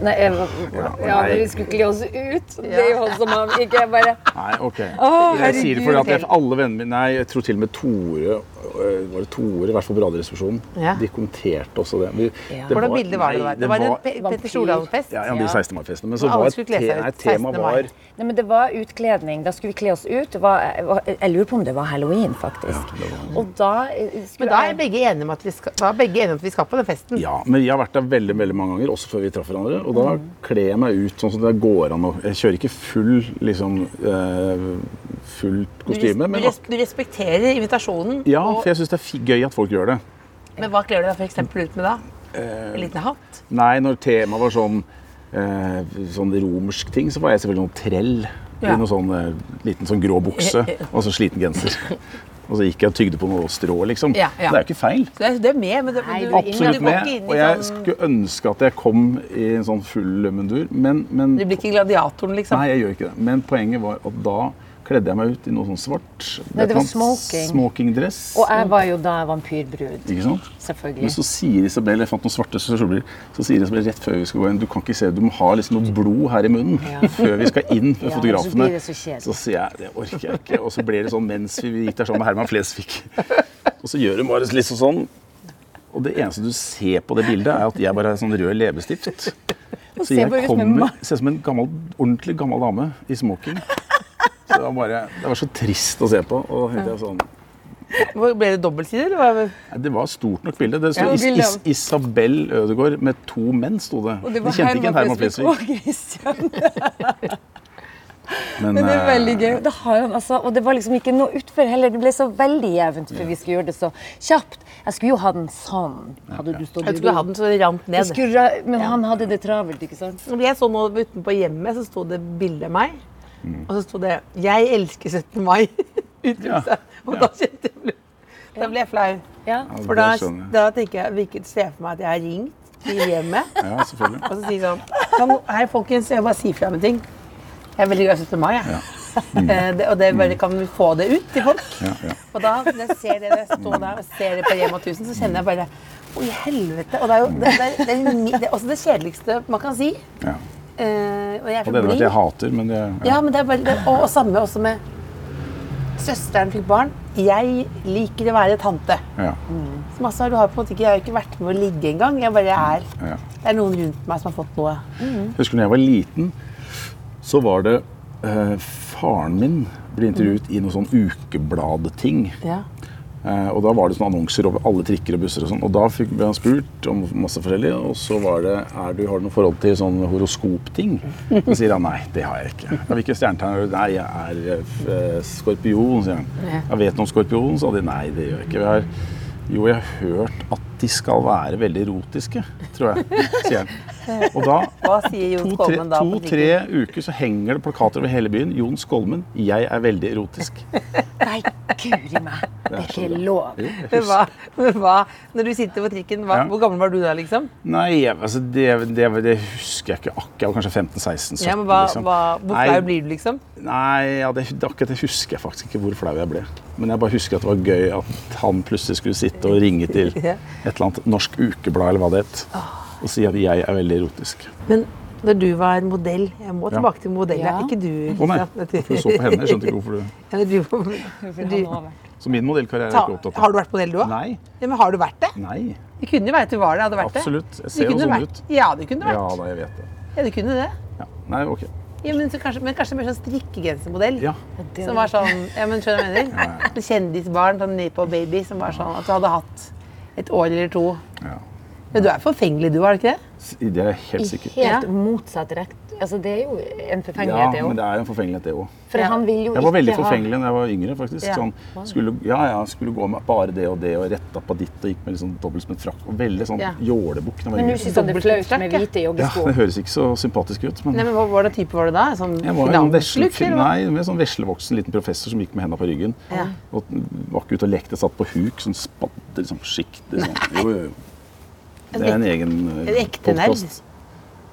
Speaker 4: Nei, jeg var, ja,
Speaker 3: Ja,
Speaker 4: men
Speaker 3: nei.
Speaker 4: vi skulle ikke le oss ut. Det er jo han som har Ikke jeg bare
Speaker 3: Nei, ok.
Speaker 4: Å,
Speaker 3: jeg sier det fordi at
Speaker 4: herregud.
Speaker 3: jeg, alle vennene mine Nei, jeg tror til og med Tore øh, Var det Tore, i hvert fall på Radioresepsjonen,
Speaker 1: Ja.
Speaker 3: de kommenterte også det. Vi, det
Speaker 1: Hvordan bilde var det
Speaker 3: nei,
Speaker 1: der? Det var en
Speaker 3: var-
Speaker 1: Pe- Petter Stordalen-fest.
Speaker 3: ja, ja, de 16. mai-festene. Men så
Speaker 1: Og alle
Speaker 3: var
Speaker 1: skulle kle
Speaker 3: te-
Speaker 1: seg ut
Speaker 3: nei,
Speaker 1: 16.
Speaker 3: temaet
Speaker 1: mai.
Speaker 3: var
Speaker 4: Nei, men det var utkledning. Da skulle vi kle oss ut. Det var, jeg var- jeg lurer på om det var halloween, faktisk. Og da eh, skulle
Speaker 1: Men da er
Speaker 4: jeg
Speaker 1: begge enige om at vi skal, da er begge enige om at vi skal på den festen.
Speaker 3: Ja, men jeg har vært der veldig veldig mange ganger, også før vi traff hverandre. Og da
Speaker 1: Mm.
Speaker 3: kler jeg meg ut sånn som det går an. å- Jeg kjører ikke full liksom, eh, fullt
Speaker 1: Du, res
Speaker 3: kostyme.
Speaker 1: du,
Speaker 3: Men,
Speaker 1: res du respekterer invitasjonen.
Speaker 3: ja,
Speaker 1: og,
Speaker 3: for jeg syns det er fi- gøy at folk gjør det.
Speaker 1: men hva kler du deg for eksempel ut med da?
Speaker 3: Eh.
Speaker 1: En liten hatt?
Speaker 3: Nei, når temaet var sånn, eh, sånn romersk ting, så var jeg selvfølgelig noen trell.
Speaker 1: Ja.
Speaker 3: I noen sånn eh, liten sånn grå bukse og så sliten genser. Og så gikk jeg og tygde på noe strå, liksom.
Speaker 1: Ja, ja.
Speaker 3: Det er jo ikke feil.
Speaker 1: Så det er, det er med, men, det, men du,
Speaker 3: Absolutt
Speaker 1: du går
Speaker 3: med.
Speaker 1: ikke inn
Speaker 3: Og
Speaker 1: i
Speaker 3: jeg
Speaker 1: sånn
Speaker 3: skulle ønske at jeg kom i en sånn full lømmendur, men, men
Speaker 1: Du blir ikke gladiatoren, liksom?
Speaker 3: Nei, jeg gjør ikke det. Men poenget var at da kledde jeg meg ut i noe sånn svart.
Speaker 4: Nei, det var
Speaker 3: et eller annet
Speaker 4: smoking.
Speaker 3: Smokingdress.
Speaker 4: Og jeg var jo da vampyrbrud.
Speaker 3: Ikke sant? Men
Speaker 4: Selvfølgelig.
Speaker 3: så sier Isabel jeg fant noen svarte skjorter, så sier Isabel rett før vi skal gå inn Du kan ikke se, du må ha liksom noe blod her i munnen før vi skal inn med
Speaker 4: Ja, så
Speaker 3: fotografene.
Speaker 4: blir det så kjedelig.
Speaker 3: sier jeg det orker jeg ikke. Og så blir det sånn mens vi gikk der sammen med Herman Flesvig. Og så gjør hun bare liksom sånn. Og det eneste du ser på det bildet, er at jeg bare har sånn rød leppestift. Så
Speaker 4: ser
Speaker 3: jeg
Speaker 4: bare ut som en
Speaker 3: kommer
Speaker 4: mann.
Speaker 3: ser ut som en gammel, ordentlig gammel dame i smoking. Så det var, bare, det var så trist å se på. Og da tenkte jeg sånn
Speaker 1: Hvor- Ble det dobbeltside, eller? hva?
Speaker 3: Nei, Det var stort nok bilde. Det sto
Speaker 4: Ja,
Speaker 3: Is
Speaker 4: bildet.
Speaker 3: Is Isabel Ødegaard med to menn. sto det.
Speaker 4: Og
Speaker 3: De kjente ikke en Herman Flesvig.
Speaker 4: og Christian.
Speaker 3: Men,
Speaker 4: Men det er
Speaker 3: eh,
Speaker 4: veldig gøy. Det har han, altså, og det var liksom ikke noe utfor heller. Det ble så veldig jevnt, for vi skulle gjøre det så kjapt. Jeg skulle jo ha den sånn. Hadde du stått
Speaker 1: Jeg skulle ha den så det rant
Speaker 4: Jeg
Speaker 1: ned.
Speaker 4: skulle, ra- men han hadde det travelt, ikke sant?
Speaker 1: Når jeg så nå utenpå hjemmet, så sto det bilde av meg.
Speaker 3: Mm.
Speaker 1: Og så sto det 'Jeg elsker 17. mai'. Utropstegn. Og da kjente jeg ble- Da ble jeg flau.
Speaker 4: Ja.
Speaker 3: Ja,
Speaker 1: For
Speaker 3: det
Speaker 1: da,
Speaker 3: skjønner jeg.
Speaker 1: da tenker jeg hvilket ser for meg at jeg har ringt til hjemmet.
Speaker 3: Ja, selvfølgelig.
Speaker 1: Og så sier jeg sånn kan, Hei, folkens, jeg må bare si fra om en ting. Jeg er veldig glad i 17. mai, jeg. Eh, det, og det bare, kan vi få det ut til folk?
Speaker 3: Mm. Ja, ja.
Speaker 1: Og da når jeg ser det, når jeg står der og ser det på Rema 1000, så kjenner jeg bare Å, i helvete. Og det er jo det, det, er- det, er ni- det, er også det kjedeligste man kan si.
Speaker 3: ja.
Speaker 1: Eh, og jeg er
Speaker 3: Og
Speaker 1: for
Speaker 3: det er det
Speaker 1: blid.
Speaker 3: jeg hater, men det
Speaker 1: Ja, men det er bare, det, og, og samme også med Søsteren fikk barn. Jeg liker å være tante.
Speaker 3: ja.
Speaker 1: Så masse har du har på en måte ikke, Jeg har jo ikke vært med å ligge engang. Jeg bare er
Speaker 3: Ja.
Speaker 1: Det er noen rundt meg som har fått noe.
Speaker 4: Mm.
Speaker 3: Jeg husker når jeg var liten, så var det eh, faren min ble intervjuet i noen sånn ukebladting.
Speaker 1: Ja.
Speaker 3: Eh, og da var det sånne annonser over alle trikker og busser og sånn. Og da fikk, ble han spurt om masse forskjellig, og så var det er du, Har du noe forhold til sånn horoskopting? Så sier han nei, det har jeg ikke. Ja, Hvilke stjernetegn er du? Nei, jeg er eh, skorpion, sier han. Jeg vet noe om skorpion, sa de. Nei, det gjør jeg ikke. Vi har, jo, jeg har hørt at de skal være veldig erotiske, tror jeg, sier han. Og da
Speaker 1: Hva sier Jon
Speaker 3: To-tre
Speaker 1: Skolmen da? på trikken?
Speaker 3: uker så henger det plakater over hele byen. Jon Skolmen, jeg er veldig erotisk.
Speaker 4: Nei, guri meg. Det er ikke lov.
Speaker 3: Jo, jeg
Speaker 1: Men
Speaker 3: husker.
Speaker 1: hva, men hva, når du sitter på trikken, hva,
Speaker 3: Ja.
Speaker 1: hvor gammel var du da, liksom?
Speaker 3: Nei, jeg- altså, det, det, det husker jeg ikke akkurat. Jeg var kanskje 15-16-17.
Speaker 1: Ja, men hva,
Speaker 3: liksom.
Speaker 1: hva, hvor
Speaker 3: Nei,
Speaker 1: flau blir du, liksom?
Speaker 3: Nei, ja, det, det, akkurat det husker jeg faktisk ikke hvor flau jeg ble. Men jeg bare husker at det var gøy at han plutselig skulle sitte og ringe til et
Speaker 1: Ja.
Speaker 3: eller annet Norsk Ukeblad eller hva det het, og si at jeg er veldig erotisk.
Speaker 1: Men når du var modell Jeg må tilbake til modell, ja.
Speaker 4: Ja.
Speaker 1: ikke du.
Speaker 3: Å nei,
Speaker 1: Kristian.
Speaker 3: for du så på henne. Jeg skjønte ikke hvorfor du
Speaker 1: Ja, men du, du,
Speaker 3: Så min modellkarriere er
Speaker 1: ta,
Speaker 3: jeg ikke opptatt av.
Speaker 1: har du vært modell, du òg?
Speaker 3: Nei.
Speaker 1: Ja, men har du vært det?
Speaker 3: Nei.
Speaker 1: Det kunne jo være at du var det. hadde du vært
Speaker 3: Absolutt.
Speaker 1: det.
Speaker 3: Jeg ser
Speaker 1: Du
Speaker 3: jo
Speaker 1: kunne
Speaker 3: sånn
Speaker 1: vært.
Speaker 3: ut.
Speaker 1: Ja, du kunne
Speaker 3: Ja
Speaker 1: vært.
Speaker 3: da, jeg vet det.
Speaker 1: Ja, du kunne det.
Speaker 3: Ja. Nei, ok.
Speaker 1: Ja, men, så kanskje, men kanskje mer sånn strikkegensermodell.
Speaker 3: Ja.
Speaker 1: Som var sånn ja, men skjønner du hva jeg mener? Med Kjendisbarn, sånn Napo Baby, som var sånn at du hadde hatt et år eller to.
Speaker 3: Ja.
Speaker 1: Men du er forfengelig, du, er du ikke det?
Speaker 3: S- Det er jeg helt sikker på.
Speaker 4: Helt
Speaker 1: Ja.
Speaker 4: motsatt rekt. Altså, det er jo en
Speaker 3: Ja,
Speaker 4: forfengelighet, det
Speaker 3: men
Speaker 4: òg.
Speaker 3: det er en forfengelighet, det òg.
Speaker 4: For han vil jo
Speaker 3: Jeg var veldig
Speaker 4: ikke ha
Speaker 3: forfengelig da jeg var yngre. faktisk.
Speaker 1: Ja.
Speaker 3: Sånn, skulle, ja, ja, skulle gå med bare det og det og retta på ditt og gikk med litt sånn dobbelt som en frakk. og Veldig sånn
Speaker 1: Ja.
Speaker 3: jålebukk. da jeg var
Speaker 4: Men nå
Speaker 3: yngre.
Speaker 4: syns han det er sånn flaut med hvite
Speaker 3: Ja,
Speaker 4: joggesko.
Speaker 3: det høres ikke så sympatisk ut, men
Speaker 1: Nei, men Hva var det type var du da? Sånn
Speaker 3: jeg var jo en vesle,
Speaker 1: finanslutt? eller hva?
Speaker 3: nei, en sånn veslevoksen liten professor som gikk med henda på ryggen.
Speaker 1: Ja.
Speaker 3: Og var ikke ute og lekte, satt på huk, sånn spadder, liksom, sjikter sånn. Jo, jo, jo. Det er en egen eh,
Speaker 1: En ekte nerd.
Speaker 3: podcast.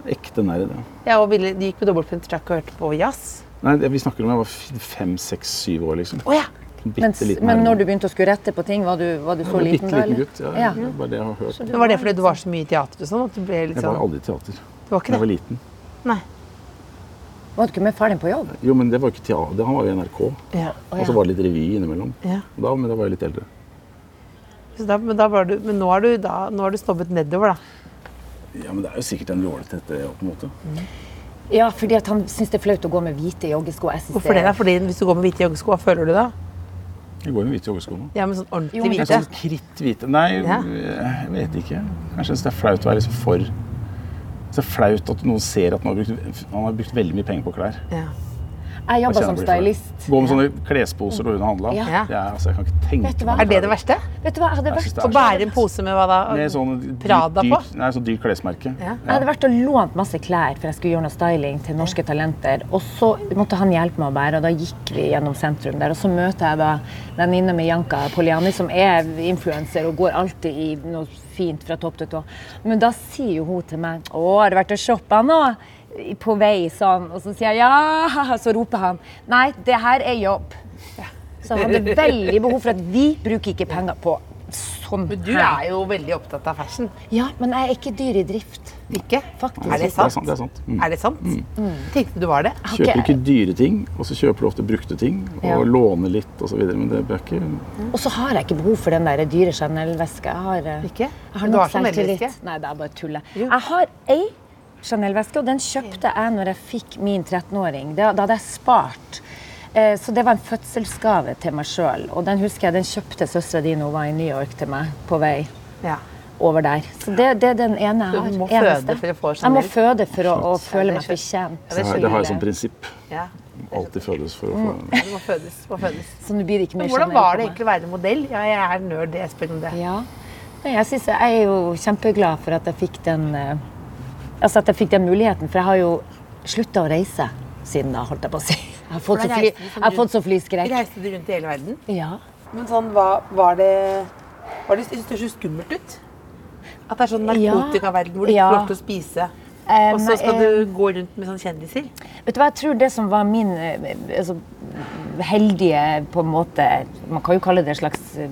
Speaker 3: Ekte nerd, ja.
Speaker 1: Ja, og ville, de gikk på dobbeltpunktstrakk og hørte på jazz.
Speaker 3: Nei, det- vi snakker om jeg var fem, seks, syv år, liksom.
Speaker 1: Å ja!
Speaker 3: Bitte
Speaker 4: Men,
Speaker 3: liten
Speaker 4: men
Speaker 3: herre.
Speaker 4: når du begynte å skulle rette på ting, var du, var du så
Speaker 3: Jeg var
Speaker 4: liten da?
Speaker 3: bitte liten
Speaker 4: eller?
Speaker 3: gutt. Ja,
Speaker 4: Ja.
Speaker 3: Det er bare det jeg har hørt.
Speaker 1: Men Var det fordi du var så mye i teater og sånn? at du ble litt
Speaker 3: Jeg var
Speaker 1: sånn...
Speaker 3: aldri i teater
Speaker 1: Det var
Speaker 3: da
Speaker 1: ikke
Speaker 3: jeg var
Speaker 1: det?
Speaker 3: liten.
Speaker 1: Nei.
Speaker 4: Var du ikke med faren din på jobb?
Speaker 3: Jo, men det var ikke teater. Det- Han var jo i NRK.
Speaker 1: Ja.
Speaker 3: Og så var det litt revy innimellom.
Speaker 1: Ja.
Speaker 3: Da, men da var jeg litt eldre.
Speaker 1: Så da, men, da var du, men nå har du, da, nå har du snobbet nedover, da.
Speaker 3: Ja, men det er jo sikkert en jålethet, det på en måte.
Speaker 4: Ja, fordi at han syns det er flaut å gå med hvite joggesko. Jeg synes
Speaker 1: Hvorfor det? da? Fordi hvis du går med hvite joggesko, hva føler du da?
Speaker 3: Jeg går jo med hvite joggesko nå.
Speaker 1: Ja, men sånn ordentlig
Speaker 4: Jo, men-
Speaker 3: Jeg er
Speaker 1: hvite.
Speaker 3: sånn kritthvite Nei,
Speaker 1: Ja.
Speaker 3: jeg vet ikke. Kanskje jeg synes det er flaut å være liksom for det er flaut at noen ser at man har brukt, han har brukt veldig mye penger på klær.
Speaker 1: Ja.
Speaker 4: Jeg
Speaker 3: Jeg
Speaker 4: jobba
Speaker 3: kjenner
Speaker 4: som
Speaker 3: på det før.
Speaker 4: stylist.
Speaker 3: Gå med sånne klesposer når hun har handla.
Speaker 4: Ja.
Speaker 3: Det er- Altså, jeg kan ikke tenke
Speaker 4: Vet du
Speaker 3: meg at
Speaker 4: hva?
Speaker 1: Er det det verste?
Speaker 4: Vet du hva, jeg hadde
Speaker 3: Jeg synes
Speaker 4: vært,
Speaker 3: det
Speaker 1: Å
Speaker 3: er
Speaker 1: bære en pose med hva da?
Speaker 3: Med sånn
Speaker 1: Prada på?
Speaker 3: dyrt- Nei, sånn dyrt klesmerke.
Speaker 1: Ja.
Speaker 4: jeg hadde vært og lånt masse klær for jeg skulle gjøre noe styling til norske talenter. Og så måtte han hjelpe meg å bære, og da gikk vi gjennom sentrum der. Og så møter jeg da venninna mi Janka Poliani, som er influenser og går alltid i noe fint fra topp til tå. Men da sier jo hun til meg Å, har du vært og shoppa nå? I- På vei sånn. Og så sier jeg ja, så roper han Nei, det her er jobb. Så han hadde veldig behov for at vi bruker ikke penger på sånn
Speaker 1: Men du
Speaker 4: her.
Speaker 1: er jo veldig opptatt av fashion.
Speaker 4: Ja, men jeg er ikke dyr i drift.
Speaker 1: Ikke?
Speaker 4: Faktisk.
Speaker 1: Er det
Speaker 3: Det er
Speaker 1: sant?
Speaker 3: sant, det er sant. Mm.
Speaker 1: Er det sant? Tenkte du var det?
Speaker 4: Jeg har
Speaker 3: Kjøper
Speaker 4: ikke-
Speaker 3: ikke dyre ting, og så kjøper du ofte brukte ting. Og
Speaker 4: Ja.
Speaker 3: låner litt osv. Men det er ikke
Speaker 4: Og så har jeg ikke behov for den der dyre Chanel-veska. Jeg har, eh,
Speaker 1: Ikke?
Speaker 4: Jeg har
Speaker 1: Men du
Speaker 4: nok
Speaker 1: har Chanel-veske.
Speaker 4: selvtillit. Nei, det er bare tullet.
Speaker 1: Jo.
Speaker 4: Jeg har ei Chanel-veske, og den kjøpte jeg når jeg fikk min 13-åring. Da, da hadde jeg spart. Eh, Så det var en fødselsgave til meg sjøl. Og den husker jeg, den kjøpte søstera di når hun var i New York til meg på vei
Speaker 1: Ja.
Speaker 4: over der. Så det, det er den ene jeg
Speaker 1: Du
Speaker 4: har.
Speaker 1: må
Speaker 4: Eneste.
Speaker 1: føde for å få
Speaker 4: Jeg må
Speaker 1: Chanel.
Speaker 4: føde for å, å
Speaker 1: Ja, det
Speaker 4: føle meg
Speaker 1: skjønner-
Speaker 4: fortjent.
Speaker 1: Ja, det
Speaker 3: Det har jeg sånn
Speaker 1: skjønner
Speaker 3: som
Speaker 1: jeg.
Speaker 3: prinsipp.
Speaker 1: Ja.
Speaker 3: alltid fødes for å få
Speaker 1: Det må fødes. Må fødes.
Speaker 4: Så nå blir det ikke
Speaker 1: Men
Speaker 4: mer
Speaker 1: hvordan var det
Speaker 4: generelt
Speaker 1: egentlig å være modell? Ja, jeg er nerd, jeg spør om det.
Speaker 4: på meg. Ja. Nei, jeg, synes jeg er jo kjempeglad for at jeg fikk den eh, Altså at jeg fikk den muligheten, for jeg har jo slutta å reise siden da, holdt jeg på å si. Jeg har fått
Speaker 1: For
Speaker 4: så,
Speaker 1: da
Speaker 4: fly,
Speaker 1: reiste du som
Speaker 4: jeg har fått så flyskrekk.
Speaker 1: Reiste du rundt i hele verden?
Speaker 4: Ja.
Speaker 5: Men sånn, hva var det Var det, synes du det så skummelt ut?
Speaker 1: At det er sånn
Speaker 4: Ja.
Speaker 1: narkotikaverden hvor du ikke
Speaker 4: Ja.
Speaker 1: får lov til å spise,
Speaker 4: Eh,
Speaker 1: og så
Speaker 4: nei,
Speaker 1: skal
Speaker 4: eh,
Speaker 1: du gå rundt
Speaker 5: sånn
Speaker 1: med sånne kjendiser?
Speaker 4: Vet du hva, jeg tror det som var min eh, altså, heldige på en måte, man kan jo kalle det en slags eh,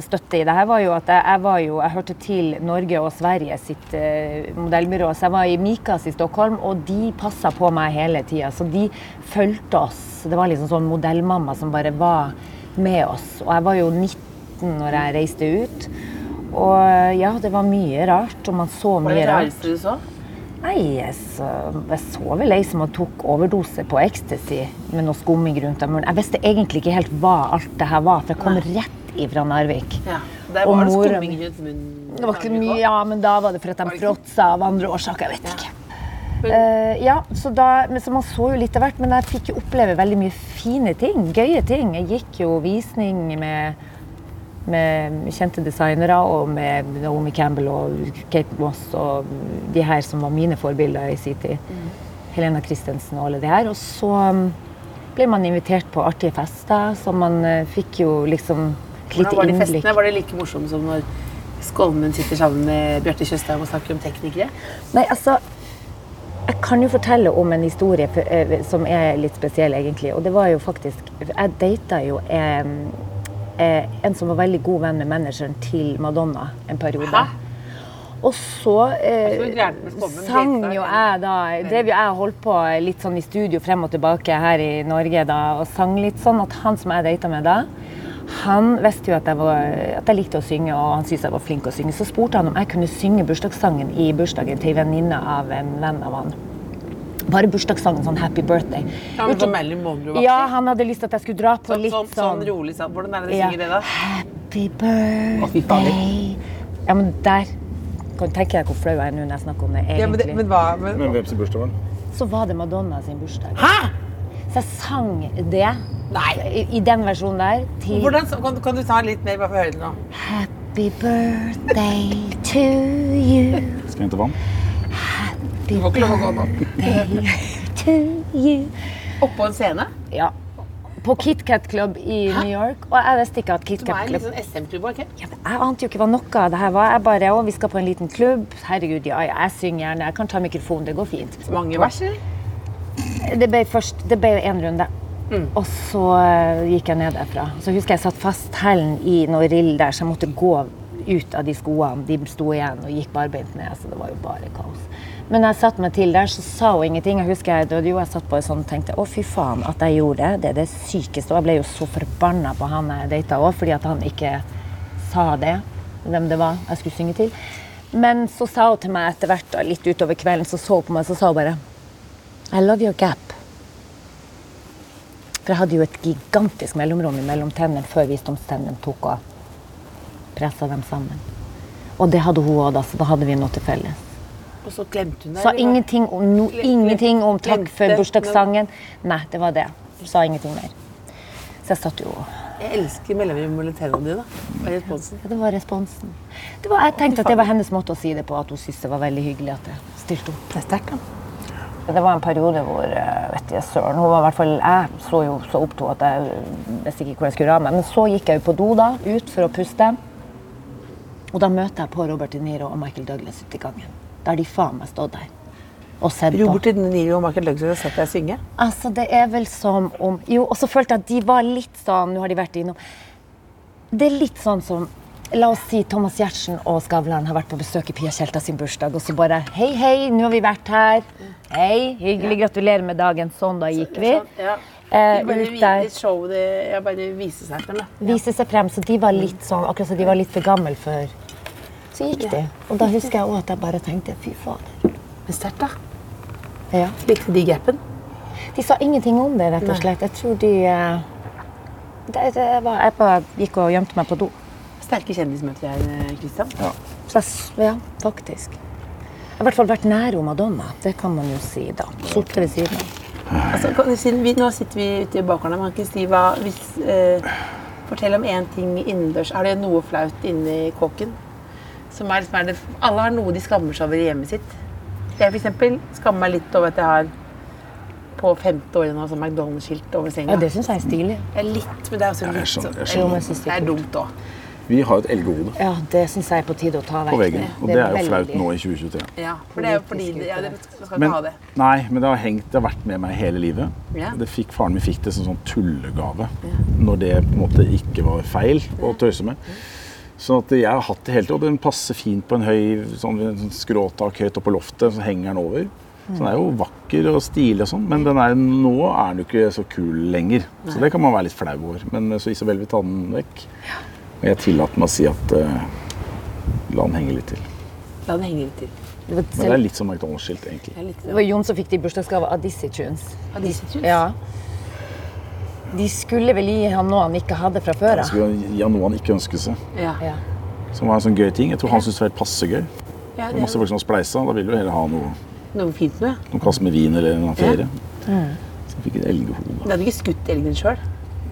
Speaker 4: støtte i det her, var jo at jeg, jeg var jo, jeg hørte til Norge og Sverige sitt eh, modellbyrå, så jeg var i Mikas i Stockholm, og de passet på meg hele tiden, så de følte oss. Det var liksom sånn modellmamma som bare var med oss, og jeg var jo 19 når jeg reiste ut, og ja, det var mye rart, og man så mye rart.
Speaker 5: rareste du så?
Speaker 4: Nei, jeg så, jeg så vel ei som tok overdose på ecstasy med noe skumming rundt av munnen. Jeg visste egentlig ikke helt hva alt det her var, for jeg kom rett ifra Narvik.
Speaker 5: Ja. Der
Speaker 4: Og
Speaker 5: var det
Speaker 4: mor-
Speaker 5: skumming rundt munnen.
Speaker 4: Det var ikke mye, ja, men da var det for at de fråtsa av andre årsaker. Jeg vet ikke. Eh, ja, så, da, men, så man så jo litt av hvert, men jeg fikk jo oppleve veldig mye fine ting. Gøye ting. Jeg gikk jo visning med, med kjente designere og med Naomi Campbell og Kate Moss og de her som var mine forbilder i sin tid.
Speaker 5: Mm.
Speaker 4: Helena Christensen og alle de her. Og så um, ble man invitert på artige fester, så man eh, fikk jo liksom
Speaker 5: Hvordan
Speaker 4: lite
Speaker 5: var de
Speaker 4: innblikk.
Speaker 5: festene? Var det like morsomt som når Skolmen sitter sammen med Bjarte Tjøstheim og snakker om teknikere?
Speaker 4: Nei, altså Jeg kan jo fortelle om en historie for- eh, som er litt spesiell, egentlig. Og det var jo faktisk Jeg data jo eh, eh, en som var veldig god venn med manageren til Madonna en periode. Og så
Speaker 5: Det var
Speaker 4: eh,
Speaker 5: gærent med Skolmen.
Speaker 4: sang
Speaker 5: Date,
Speaker 4: jo jeg da Drev jo jeg og holdt på litt sånn i studio frem og tilbake her i Norge da, og sang litt sånn at han som jeg data med da, han visste jo at jeg, var, at jeg likte å synge, og han syntes jeg var flink å synge. Så spurte han om jeg kunne synge bursdagssangen i bursdagen til en venninne av en venn av han. Bare bursdagssangen, sånn 'Happy Birthday'.
Speaker 5: Ja, men
Speaker 4: Gjort-
Speaker 5: så Marilyn Monroe var
Speaker 4: ja, han hadde lyst til at jeg skulle dra på
Speaker 5: Sånn,
Speaker 4: litt
Speaker 5: sånn, sånn rolig sånn. Hvordan er det de
Speaker 4: Ja.
Speaker 5: synger det, da?
Speaker 4: Happy
Speaker 5: fy fader.
Speaker 4: birthday Ja, men der kan- tenker jeg hvor flau jeg er nå når jeg snakker om det, egentlig.
Speaker 5: hva
Speaker 3: Men hvem sin bursdag var det?
Speaker 4: så var det Madonna sin bursdag. Hæ? Så jeg sang det I, i den versjonen der til
Speaker 5: Hvordan, så- kan, kan du ta litt mer, bare for å høre det nå?
Speaker 4: Happy birthday to you.
Speaker 3: Skal jeg hente vann?
Speaker 5: Du får ikke lov å gå nå.
Speaker 4: To you.
Speaker 5: Oppå en scene,
Speaker 4: Ja. På KitKat Club i New York. Og jeg visste ikke at
Speaker 5: som er
Speaker 4: KitKat
Speaker 5: en
Speaker 4: Club
Speaker 1: liksom-
Speaker 5: litt sånn SM-klubb, ikke?
Speaker 4: Ja, men Jeg ante jo ikke hva noe av det her var. Jeg bare, å, vi skal på en liten klubb. Herregud, ja, ja, jeg synger gjerne. Jeg kan ta mikrofonen, det går fint.
Speaker 5: Mange vers, eller?
Speaker 4: Det ble først det ble en runde. Og så eh, gikk jeg ned derfra. Så husker jeg satt fast hælen i noe rill der, så jeg måtte gå ut av de skoene. De sto igjen og gikk barbeint ned, så det var jo bare kaos. Men når jeg satte meg til der, så sa hun ingenting. Jeg husker jeg, det var jo, jeg satt bare sånn og tenkte å, fy faen at jeg gjorde det. Det er det sykeste. Og jeg ble jo så forbanna på han jeg data òg, fordi at han ikke sa det, hvem det var jeg skulle synge til. Men så sa hun til meg etter hvert, da, litt utover kvelden, så så hun på meg så sa hun bare I love your gap. For jeg hadde jo et gigantisk mellomrom mellom tennene før visdomstennene tok og pressa dem sammen. Og det hadde hun òg, da, så da hadde vi noe til felles.
Speaker 5: Og så glemte hun det.
Speaker 4: Sa
Speaker 5: eller hva?
Speaker 4: ingenting om, no, ingenting om takk for
Speaker 5: Glemte,
Speaker 4: bursdagssangen. Nei, det var det. Sa ingenting mer. Så jeg satt jo og
Speaker 5: Jeg elsker mellomrom mellom tennene dine. da. Hva er responsen?
Speaker 4: Ja, det var responsen. Det var, jeg tenkte at det var hennes måte å si det på, at hun syntes det var veldig hyggelig at jeg stilte opp. Det er sterkt, Det var en periode hvor eh, vet jeg, søren, hun var i hvert fall, jeg så jo så opp til henne at jeg visste ikke hvor jeg skulle av meg. Men så gikk jeg jo på do da, ut for å puste. Og da møter jeg på Robert De Niro og Michael Douglas ute i gangen. Da har de faen meg stått der og sett på.
Speaker 5: Robert De Niro og Michael Douglas har sett deg synge.
Speaker 4: Altså, det er vel som om Jo, og så følte jeg at de var litt sånn Nå har de vært innom Det er litt sånn som La oss si Thomas Giertsen og Skavlan har vært på besøk i Pia Tjelta sin bursdag, og så bare Hei, hei, nå har vi vært her. Hei, hyggelig. Gratulerer med dagen. Sånn, da gikk vi.
Speaker 5: Ja.
Speaker 4: Eh,
Speaker 5: De bare
Speaker 4: ut
Speaker 5: vi-
Speaker 4: der.
Speaker 5: de show, de, jeg bare viser seg frem. da.
Speaker 4: Vise seg frem. Så de var litt sånn Akkurat som de var litt for gammel for Så gikk de. Og da husker jeg òg at jeg bare tenkte Fy fader.
Speaker 5: Men sterkt, da.
Speaker 4: Ja.
Speaker 5: Likte de gapen?
Speaker 4: De sa ingenting om det, rett og slett. Jeg tror de eh, det, det var, Jeg bare gikk og gjemte meg på do.
Speaker 5: Sterke kjendismøter
Speaker 1: eh,
Speaker 5: her, Kristian.
Speaker 4: Så jeg, s- ja, faktisk. Jeg har i hvert fall vært nær om Madonna. Det kan man jo si, da. Sorte ved siden av.
Speaker 1: Altså, kan, siden vi, nå sitter vi ute i bakgården, men kan ikke si hva hvis, eh, Fortell om én ting innendørs. Er det noe flaut inni kåken? Som er, liksom, er det, alle har noe de skammer seg over i hjemmet sitt. Jeg for eksempel skammer meg litt over at jeg har på femte året nå sånn McDonald's-skilt over senga.
Speaker 4: Ja, det syns jeg er stilig.
Speaker 1: Jeg er litt, men det er også
Speaker 3: jeg
Speaker 1: litt
Speaker 3: skjønner,
Speaker 1: sånn-
Speaker 3: jeg skjønner.
Speaker 4: Jo, men jeg synes det
Speaker 1: Det
Speaker 4: er
Speaker 1: er
Speaker 4: kult.
Speaker 1: dumt òg.
Speaker 3: Vi har et elgehode
Speaker 4: Ja, det syns jeg er på tide å ta vekk.
Speaker 3: på veggen, og det er jo flaut nå i 2023.
Speaker 1: Ja, for det er jo fordi det- ja, det, man skal ikke
Speaker 3: Men-
Speaker 1: ha det.
Speaker 3: Nei, men det har hengt, det har vært med meg hele livet.
Speaker 1: Ja.
Speaker 3: Det fikk, faren min fikk det som sånn tullegave når det på en måte ikke var feil å tøyse med. Sånn at jeg har hatt det hele tiden, og den passer fint på en høy sånn, en sånn skråtak høyt oppe på loftet, så henger den over. Så den er jo vakker og stilig og sånn, men den er, nå er den jo ikke så kul lenger. Så det kan man være litt flau over. Men eh, så Isabel vil ta den vekk. Og jeg tillater meg å si at eh, la den henge litt til.
Speaker 1: La den henge litt til.
Speaker 3: Men det er litt som McDonald's-skilt, egentlig.
Speaker 1: Det er litt
Speaker 4: Det var Jon som fikk det i bursdagsgave av Dizzie Tunes.
Speaker 1: Av disse tusen.
Speaker 4: Ja. De skulle vel gi han noe han ikke hadde fra før
Speaker 3: Jeg
Speaker 4: av.
Speaker 3: skulle gi han noe han ikke ønsket seg.
Speaker 1: Ja.
Speaker 4: Ja.
Speaker 3: Som var en sånn gøy ting. Jeg tror han syntes det var helt passe gøy. Det
Speaker 1: Ja,
Speaker 3: var
Speaker 1: det
Speaker 3: masse
Speaker 1: er
Speaker 3: folk som spleisa. Da ville du heller ha noe,
Speaker 1: noe fint med.
Speaker 3: noen kasse med vin eller en annen ferie.
Speaker 4: Mm.
Speaker 3: Så jeg fikk et elghode.
Speaker 1: Du hadde ikke skutt elgen sjøl?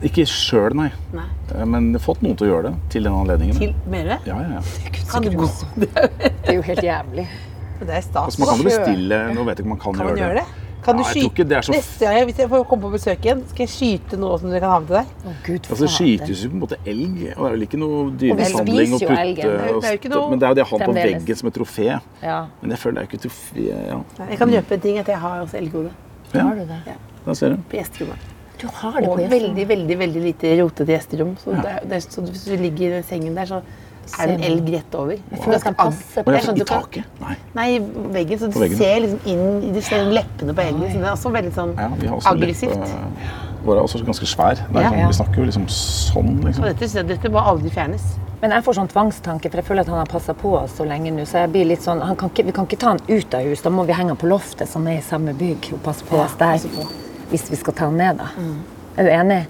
Speaker 3: Ikke sjøl, nei.
Speaker 1: Nei.
Speaker 3: Eh, Men jeg har fått noen til å gjøre det til den anledningen.
Speaker 1: Til mere?
Speaker 3: Ja, ja, ja.
Speaker 1: Kan du gå?
Speaker 4: Det er jo helt jævlig.
Speaker 6: Det er stas.
Speaker 3: Altså, man kan bestille Nå vet jeg ikke om man kan,
Speaker 1: Kan man gjøre det?
Speaker 6: Kan du
Speaker 3: Ja, jeg tror
Speaker 6: skyte
Speaker 3: ikke det er så-
Speaker 6: Neste gang jeg- hvis jeg får komme på besøk igjen, skal jeg skyte noe som dere kan ha med til deg.
Speaker 4: Å, Gud,
Speaker 3: Altså, det
Speaker 4: fader.
Speaker 3: skytes jo på en måte elg, og det er vel ikke noe
Speaker 4: Og vi
Speaker 3: dyremishandling å
Speaker 4: spiser jo
Speaker 3: putte
Speaker 4: elgen. Det er
Speaker 6: jo- det er jo
Speaker 3: og
Speaker 6: ikke
Speaker 3: stå-
Speaker 6: noe-
Speaker 3: Men det er jo det jeg har på
Speaker 4: Fremdeles.
Speaker 3: veggen som et trofé.
Speaker 4: Ja,
Speaker 3: Men jeg føler det er ikke trofé ja.
Speaker 1: Jeg kan røpe en ting at jeg har også elghode
Speaker 4: har du det?
Speaker 3: Der ser du.
Speaker 1: på gjesterommet.
Speaker 4: Du har det
Speaker 1: Og
Speaker 4: på gjesten.
Speaker 1: veldig, veldig veldig lite rotete gjesterom. Så, det er, det er, så hvis du ligger i den sengen der, så er det en elg rett over.
Speaker 4: For det skal passe
Speaker 3: Og
Speaker 4: på.
Speaker 3: jeg
Speaker 1: sånn
Speaker 3: får
Speaker 1: du
Speaker 3: i
Speaker 1: kan-
Speaker 3: taket. Nei.
Speaker 1: Nei, i veggen. Så du
Speaker 3: På veggen.
Speaker 1: ser liksom inn Du ser leppene på elgen. Så det er også veldig sånn
Speaker 3: Ja, vi har også
Speaker 1: aggressivt.
Speaker 3: Litt, eh, våre er også ganske svær. Det er
Speaker 1: Ja.
Speaker 3: sånn, Vi snakker jo liksom sånn,
Speaker 1: Og
Speaker 3: liksom.
Speaker 1: dette, så dette må aldri fjernes.
Speaker 4: Men jeg får sånn tvangstanke, for jeg føler at han har passa på oss så lenge nå. Så jeg blir litt sånn han kan ikke, Vi kan ikke ta han ut av hus, da må vi henge han på loftet, som er i samme bygg, og passe på Mm. oss der. Hvis vi skal ta han ned, da. Er du enig?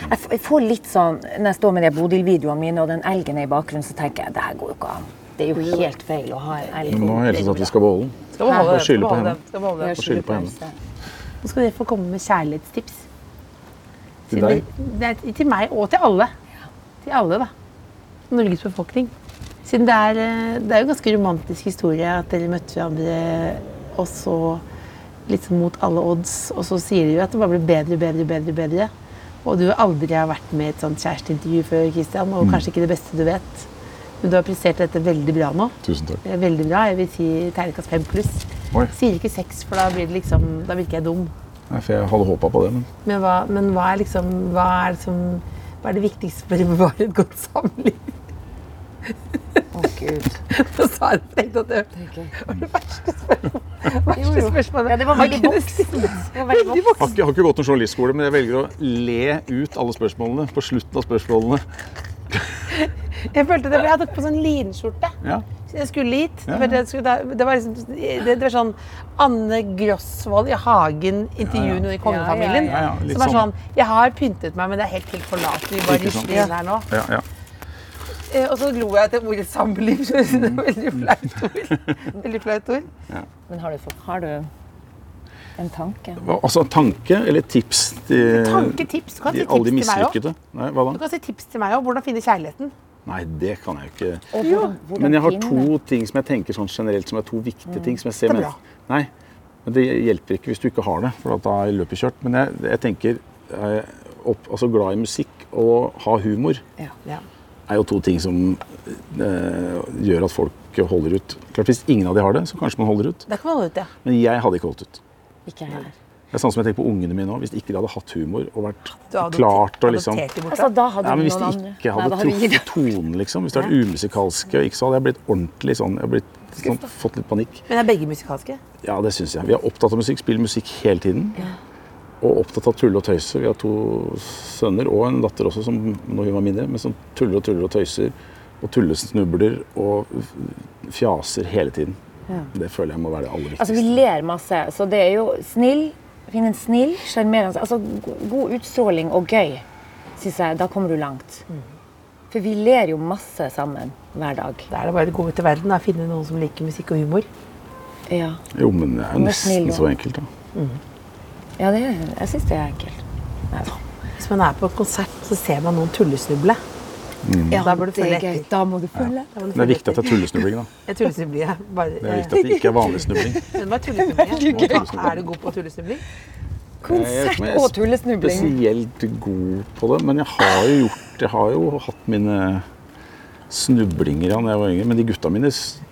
Speaker 4: Jeg f- jeg får litt sånn, Når jeg står med de Bodil-videoene mine og den elgen er i bakgrunnen, så tenker jeg det her går jo ikke an. Det er jo helt feil å ha en elg.
Speaker 3: Nå er det sånn at vi skal beholde den.
Speaker 1: Skal beholde
Speaker 3: Og
Speaker 1: den,
Speaker 3: skylde
Speaker 1: skal
Speaker 3: på
Speaker 1: beholde
Speaker 3: henne.
Speaker 1: den, skal beholde den.
Speaker 3: Og skylde på henne.
Speaker 1: Nå skal dere få komme med kjærlighetstips.
Speaker 3: Til deg.
Speaker 1: Det er til meg og til alle. Til alle, da. Norges befolkning. Siden det er, eh, det er jo en ganske romantisk historie at dere møtte hverandre, og så litt sånn mot alle odds, og så sier de jo at det bare blir bedre, bedre, bedre. bedre. Og du aldri har vært med i et sånt kjæresteintervju før, Christian,
Speaker 3: Mm.
Speaker 1: og kanskje ikke det beste du vet. Men du har prestert dette veldig bra nå.
Speaker 3: Tusen takk.
Speaker 1: Det er Veldig bra. Jeg vil si terningkast fem pluss.
Speaker 3: Oi.
Speaker 1: Sier ikke seks, for da, blir det liksom, da virker jeg dum.
Speaker 3: Nei, for jeg hadde håpa på det, men
Speaker 1: Men hva, men hva er liksom hva er, liksom, hva er det viktigste for å bevare et godt samliv?
Speaker 4: Å, Gud.
Speaker 1: Så sa jeg det tenkte at det var det verste spørsmålet. Verste spørsmålet.
Speaker 4: Ja, det var veldig voksen. Det var veldig voksen.
Speaker 3: har ikke, jeg har ikke gått noen journalistskole, men jeg velger å le ut alle spørsmålene på slutten av spørsmålene.
Speaker 1: Jeg følte det, for jeg hadde tatt på sånn linskjorte.
Speaker 3: Ja.
Speaker 1: Jeg skulle hit.
Speaker 3: Ja, ja.
Speaker 1: for jeg skulle, da- det, var liksom, det, det var sånn Anne Grosvold i Hagen intervjuer noen i kongefamilien.
Speaker 3: Ja, ja, ja, litt
Speaker 1: som er
Speaker 3: sånn.
Speaker 1: sånn Jeg har pyntet meg, men det er helt helt forlatelig. Bare
Speaker 3: Ikke sant.
Speaker 1: rysler inn her nå.
Speaker 3: Ja, ja.
Speaker 1: Eh, Og så lo jeg etter ordet samliv. Så jeg synes det var veldig flaut ord. Veldig flaut ord.
Speaker 4: Men har du, fått- har du en tanke?
Speaker 3: Hva, altså tanke eller tips til
Speaker 1: Tanke, tips. Du kan si
Speaker 3: til
Speaker 1: tips
Speaker 3: alle Eh, de
Speaker 1: til meg òg.
Speaker 3: mislykkede? Nei, hva
Speaker 1: Du
Speaker 3: da?
Speaker 1: kan si tips til meg også, hvordan finne kjærligheten.
Speaker 3: Nei, det kan jeg jo ikke.
Speaker 4: Og hvordan, hvordan
Speaker 3: Men jeg har
Speaker 4: finne den?
Speaker 3: to ting som jeg tenker sånn generelt som er to viktige ting som jeg ser
Speaker 1: Mm. Det er
Speaker 3: med. Nei, men det hjelper ikke hvis du ikke har det, for at da er løpet kjørt. Men jeg, jeg tenker eh, opp, altså glad i musikk og ha humor
Speaker 1: Ja.
Speaker 3: er jo to ting som eh, gjør at folk holder ut. Klart Hvis ingen av de har det, så kanskje man holder ut.
Speaker 1: Der kan man holde ut, ja.
Speaker 3: Men jeg hadde ikke holdt ut.
Speaker 4: Ikke heller.
Speaker 3: Det er sånn som jeg tenker på ungene mine nå. Hvis ikke de hadde hatt humor og vært
Speaker 1: Du har adopter-
Speaker 3: klart og liksom
Speaker 1: adoptert de bort,
Speaker 4: Altså, da hadde
Speaker 3: Nei, men
Speaker 4: vi
Speaker 3: Hvis
Speaker 4: noen
Speaker 3: de
Speaker 4: andre.
Speaker 3: ikke
Speaker 4: Nei, da
Speaker 3: hadde
Speaker 4: hadde vi
Speaker 3: truffet tonen, liksom. Hvis det hadde vært umusikalske, ikke, så hadde jeg blitt ordentlig sånn Jeg hadde blitt, sånn, fått litt panikk.
Speaker 1: Men er begge musikalske?
Speaker 3: Ja, det syns jeg. Vi er opptatt av musikk, spiller musikk hele tiden. Og opptatt av tulle og tøyse. Vi har to sønner og en datter også, som når hun var mindre, men som tuller og tuller og tøyser. Og tullesnubler og f- fjaser hele tiden. Det føler jeg må være det aller
Speaker 4: Altså, vi
Speaker 3: viktigste.
Speaker 4: ler masse, så det er jo snill. Finn en snill, sjarmerende Altså, go- god utstråling og gøy, syns jeg. Da kommer du langt. For vi ler jo masse sammen hver dag.
Speaker 1: Da er det bare å gå ut i verden og finne noen som liker musikk og humor.
Speaker 4: Ja.
Speaker 3: Jo, men det er jo
Speaker 4: Og vær snill,
Speaker 3: nesten
Speaker 4: da.
Speaker 3: så enkelt, da.
Speaker 4: Ja, det, jeg syns det er ekkelt.
Speaker 1: Hvis man er på konsert, så ser man noen tullesnuble. da bør du følge etter.
Speaker 4: Da må du følge.
Speaker 1: Da må du
Speaker 3: Mm. Det er
Speaker 1: følge
Speaker 3: viktig at det er tullesnubling. da.
Speaker 1: etter. Jeg tullesnubler, jeg. Bare,
Speaker 3: Det er viktig at det ikke er vanlig snubling.
Speaker 1: Men hva er tullesnubling?
Speaker 3: gøy.
Speaker 1: Hva- Er du god på tullesnubling?
Speaker 3: Konsert
Speaker 4: og tullesnubling.
Speaker 3: Spesielt god på det, men jeg har jo gjort Jeg har jo hatt mine snublinger da jeg var yngre. Men de gutta mine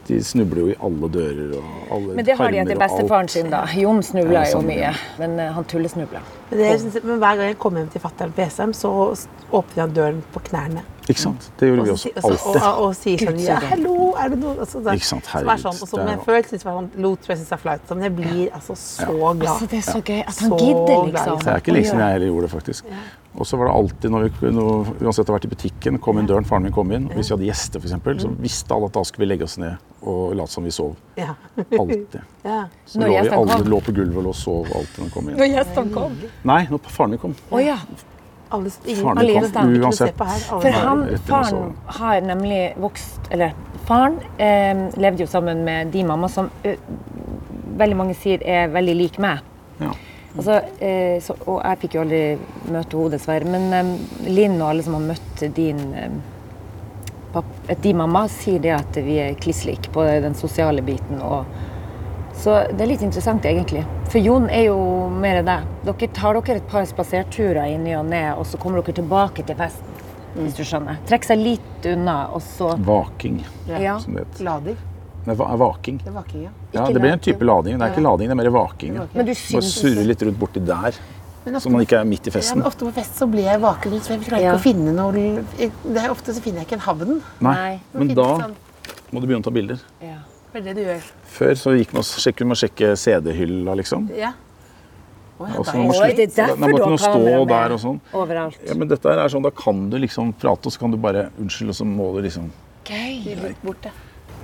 Speaker 3: de snubler jo i alle dører og alle
Speaker 4: Men det har de
Speaker 3: permer og
Speaker 4: etter
Speaker 3: alt.
Speaker 4: bestefaren sin, da. Jon snubla
Speaker 3: Ja,
Speaker 4: jo
Speaker 3: sånn, ja.
Speaker 4: mye, men eh, han tullesnubla.
Speaker 1: Men, det, synes jeg- men hver gang jeg kommer hjem til fatter'n på Esheim, så s- åpner han døren på knærne.
Speaker 3: Ikke sant? Det gjorde
Speaker 1: Og,
Speaker 3: vi
Speaker 1: så,
Speaker 3: også
Speaker 1: si- og, så-
Speaker 3: alltid.
Speaker 1: og, og sier sånn ja, 'Hallo, er det noe altså, det,
Speaker 3: Ikke sant,
Speaker 1: Som er
Speaker 3: herregud,
Speaker 1: sånn, og
Speaker 3: det
Speaker 1: som
Speaker 3: er
Speaker 1: jeg
Speaker 3: jo-
Speaker 1: før syntes var sånn lot, for jeg synes det er flaut. Sånn, jeg blir altså så glad.
Speaker 4: Altså, det er så gøy at han
Speaker 1: Så
Speaker 4: gidder,
Speaker 1: glad,
Speaker 4: liksom.
Speaker 1: liksom.
Speaker 3: Det er ikke lenge siden jeg heller gjorde det, faktisk. Og så var det alltid, når vi, når, uansett å ha vært i butikken, kom inn døren, faren min kom inn, og hvis vi hadde gjester, for eksempel,
Speaker 1: Mm.
Speaker 3: så visste alle at da skulle vi legge oss ned og late som vi sov.
Speaker 1: Ja.
Speaker 3: Alltid.
Speaker 1: Ja.
Speaker 3: Så
Speaker 4: Når
Speaker 3: lå vi
Speaker 4: gjestene
Speaker 3: alle
Speaker 4: kom.
Speaker 3: lå på gulvet og lå og sov alltid når de kom inn.
Speaker 4: Når gjestene kom.
Speaker 3: Nei, når faren min kom.
Speaker 4: Å ja.
Speaker 1: Alle, ingen,
Speaker 3: Faren min
Speaker 4: Alene
Speaker 3: kom
Speaker 4: stand.
Speaker 1: Ikke
Speaker 3: uansett.
Speaker 1: noe å se på her, alle
Speaker 4: For
Speaker 1: Nei,
Speaker 4: han,
Speaker 3: rett inn og
Speaker 4: faren
Speaker 3: sove.
Speaker 4: har nemlig vokst Eller faren eh, levde jo sammen med de mamma som ø, veldig mange sier er veldig lik meg.
Speaker 3: Ja.
Speaker 4: Altså, eh, så, og jeg fikk jo aldri møte henne, dessverre. Men eh, Linn og alle som har møtt din eh, papp, eh, De mamma sier det at vi er kliss like på den sosiale biten. Og, så det er litt interessant, egentlig. For Jon er jo mer deg. Dere tar dere et par spaserturer i ny og ne, og så kommer dere tilbake til festen. Hvis du skjønner. Trekk seg litt unna, og så
Speaker 3: Vaking,
Speaker 4: ja.
Speaker 3: som det het.
Speaker 5: Lader.
Speaker 3: Nei, va- vaking.
Speaker 5: Det er vaking, ja.
Speaker 3: Ja, det blir en type lading. Det er ikke lading, det er mer vaking. ja.
Speaker 4: Men du
Speaker 3: Bare
Speaker 4: syns
Speaker 3: surre litt rundt borti der,
Speaker 5: Men
Speaker 3: så man ikke er midt i
Speaker 5: Ja,
Speaker 3: festen.
Speaker 5: men ofte på fest så blir jeg vaken, så jeg klarer ikke
Speaker 4: Ja.
Speaker 5: å finne noe det er Ofte så finner jeg ikke en havn.
Speaker 3: Nei, men
Speaker 5: Finnes
Speaker 3: da
Speaker 5: sånn-
Speaker 3: må du begynne å ta bilder.
Speaker 4: ja.
Speaker 5: Det er det du gjør.
Speaker 3: Før så gikk man og sjekket, kunne man sjekke CD-hylla, liksom.
Speaker 5: Ja. Å, ja,
Speaker 3: Og så
Speaker 5: da
Speaker 3: må man
Speaker 5: er-
Speaker 4: Oi, det er
Speaker 3: slutte-
Speaker 4: derfor
Speaker 3: da må
Speaker 4: du
Speaker 3: ikke
Speaker 4: har
Speaker 3: noe stå
Speaker 4: kamera med.
Speaker 3: der og sånn.
Speaker 4: overalt.
Speaker 3: Ja, men dette her er sånn, Da kan du liksom prate, og så kan du bare Unnskyld, og så må du liksom
Speaker 4: Gøy.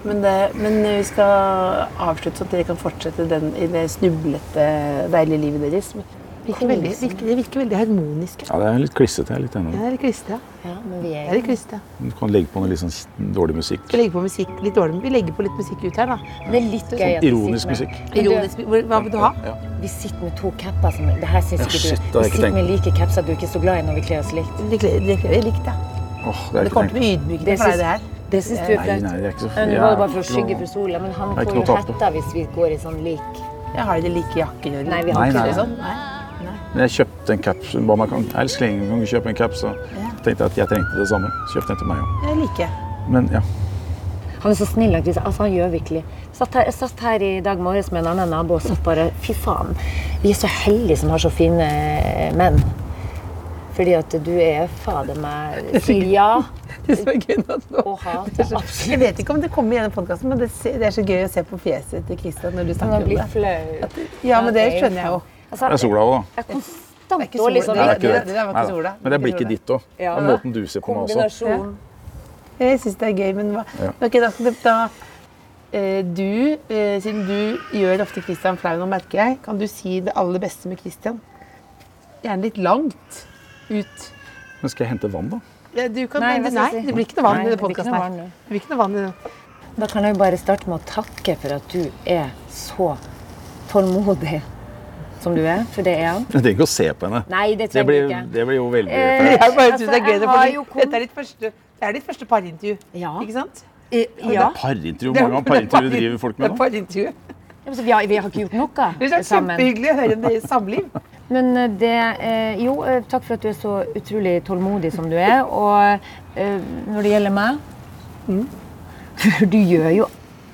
Speaker 5: men, det, men vi skal avslutte, så dere kan fortsette den, i det snublete, deilige livet deres. Men
Speaker 1: det virker veldig, virker, det virker veldig harmonisk.
Speaker 3: Ja, det er litt klissete. Jeg er litt enig.
Speaker 1: Jeg er litt kliste, ja.
Speaker 4: Ja, men vi
Speaker 1: Jeg er
Speaker 4: er
Speaker 1: litt kliste.
Speaker 3: Du kan legge på noe litt sånn dårlig musikk.
Speaker 1: Vi legger på musikk litt dårlig. Vi legger på litt musikk ut her, da.
Speaker 4: Det er sånn litt gøy at vi
Speaker 3: Ironisk
Speaker 4: sitter med-
Speaker 3: musikk.
Speaker 4: Men du-
Speaker 1: Ironisk. Hvor- Hva vil du ha?
Speaker 3: Ja.
Speaker 4: Vi sitter med to capper som Det her syns
Speaker 3: Ja,
Speaker 4: ikke
Speaker 3: shit, det har
Speaker 4: du.
Speaker 3: jeg
Speaker 4: Vi
Speaker 3: ikke
Speaker 4: sitter med
Speaker 3: tenkt.
Speaker 4: like capser du ikke er så glad i når vi kler oss likt.
Speaker 1: Det kler det kler jeg likt, ja.
Speaker 3: Åh, det er
Speaker 1: Det
Speaker 3: ikke
Speaker 1: kommer
Speaker 3: tenkt.
Speaker 1: til å bli ydmykende
Speaker 4: Det
Speaker 1: for deg,
Speaker 4: syns-
Speaker 1: det her.
Speaker 4: Det syns du er
Speaker 3: Nei,
Speaker 4: flaut.
Speaker 3: nei, det er ikke så
Speaker 4: Men Det var jo bare for å skygge for
Speaker 3: Jævla-
Speaker 4: sola, men han
Speaker 3: Det er ikke
Speaker 4: får
Speaker 3: noe
Speaker 4: jo
Speaker 3: å tape.
Speaker 4: hetta hvis vi går i sånn lik.
Speaker 1: Jeg har det like jakker. eller-
Speaker 4: Nei, vi har
Speaker 3: Nei,
Speaker 4: ikke
Speaker 3: nei,
Speaker 4: det
Speaker 3: nei.
Speaker 4: sånn.
Speaker 3: Men jeg kjøpte en caps. Hun ba meg kan, «Else Klinge, kan du kjøpe en caps. Så tenkte jeg at jeg trengte det samme. Kjøpte en til meg òg.
Speaker 1: Jeg liker.
Speaker 3: Men ja.
Speaker 4: Han er så snill. han Christian. Altså, han gjør virkelig. Satt her, jeg satt her i dag morges med en annen nabo og satt bare Fy faen, vi er så heldige som har så fine eh, menn. Fordi at du er fader meg Sier ja
Speaker 1: Det som er gøy nå at nå-
Speaker 4: og hater absolutt.
Speaker 1: Jeg vet ikke om det kommer i denne podkasten, men det, se- det er så gøy å se på fjeset til Kristian når du
Speaker 4: Han
Speaker 1: snakker om
Speaker 4: blir
Speaker 1: det.
Speaker 4: flau.
Speaker 1: Ja, men det
Speaker 4: Ja, det er jo
Speaker 1: skjønner jeg jo.
Speaker 4: Altså,
Speaker 3: Det er sola òg, da.
Speaker 4: jeg er konstant
Speaker 1: ikke
Speaker 4: dårlig
Speaker 1: sola.
Speaker 3: Nei, det er
Speaker 4: samvittighet.
Speaker 3: ikke det.
Speaker 1: det der var ikke
Speaker 3: Nei da.
Speaker 1: sola.
Speaker 3: Men det er
Speaker 1: Det er ikke
Speaker 3: blikket ditt òg.
Speaker 4: Ja.
Speaker 3: Og måten du ser på meg også.
Speaker 4: Kombinasjon.
Speaker 1: Jeg syns det er gøy, men hva
Speaker 3: Ja.
Speaker 1: Ok, da, skal du- da eh, du, eh, siden du gjør ofte Kristian flau, nå merker jeg, kan du si det aller beste med Kristian? Gjerne litt langt ut.
Speaker 3: Men skal jeg hente vann, da?
Speaker 1: Ja, Du kan, nei,
Speaker 4: Nei, hva skal
Speaker 1: nei,
Speaker 4: jeg si?
Speaker 1: det blir ikke noe vann
Speaker 4: Nei,
Speaker 1: i denne
Speaker 4: det blir ikke
Speaker 1: podkasten
Speaker 4: noe
Speaker 1: her.
Speaker 4: vann, nei.
Speaker 1: Det blir ikke noe vann i den.
Speaker 4: Da kan jeg jo bare starte med å takke for at du er så tålmodig som du er, for det er han.
Speaker 3: Jeg trenger ikke å se på henne.
Speaker 4: Nei, det
Speaker 3: Det
Speaker 4: trenger
Speaker 3: blir,
Speaker 4: du ikke.
Speaker 3: det blir jo veldig
Speaker 4: Eh,
Speaker 3: flaut.
Speaker 1: Jeg bare synes
Speaker 4: Altså,
Speaker 1: det er gøy,
Speaker 4: jeg
Speaker 1: det,
Speaker 4: har
Speaker 1: fordi
Speaker 4: jo kom-
Speaker 1: dette er ditt første, det er ditt første parintervju,
Speaker 4: Ja.
Speaker 1: ikke sant?
Speaker 4: I- Ja.
Speaker 3: Parintervju. Hvor mange parintervjuer driver folk
Speaker 1: Det
Speaker 3: med
Speaker 1: er
Speaker 3: nå?
Speaker 1: parintervju.
Speaker 4: Ja, men så Vi har, vi har ikke gjort
Speaker 1: Det
Speaker 4: noe
Speaker 1: er så kjempehyggelig å høre om deres samliv.
Speaker 4: Men eh, det eh, Jo, eh, takk for at du er så utrolig tålmodig som du er. Og eh, når det gjelder meg
Speaker 1: Mm.
Speaker 4: For du gjør jo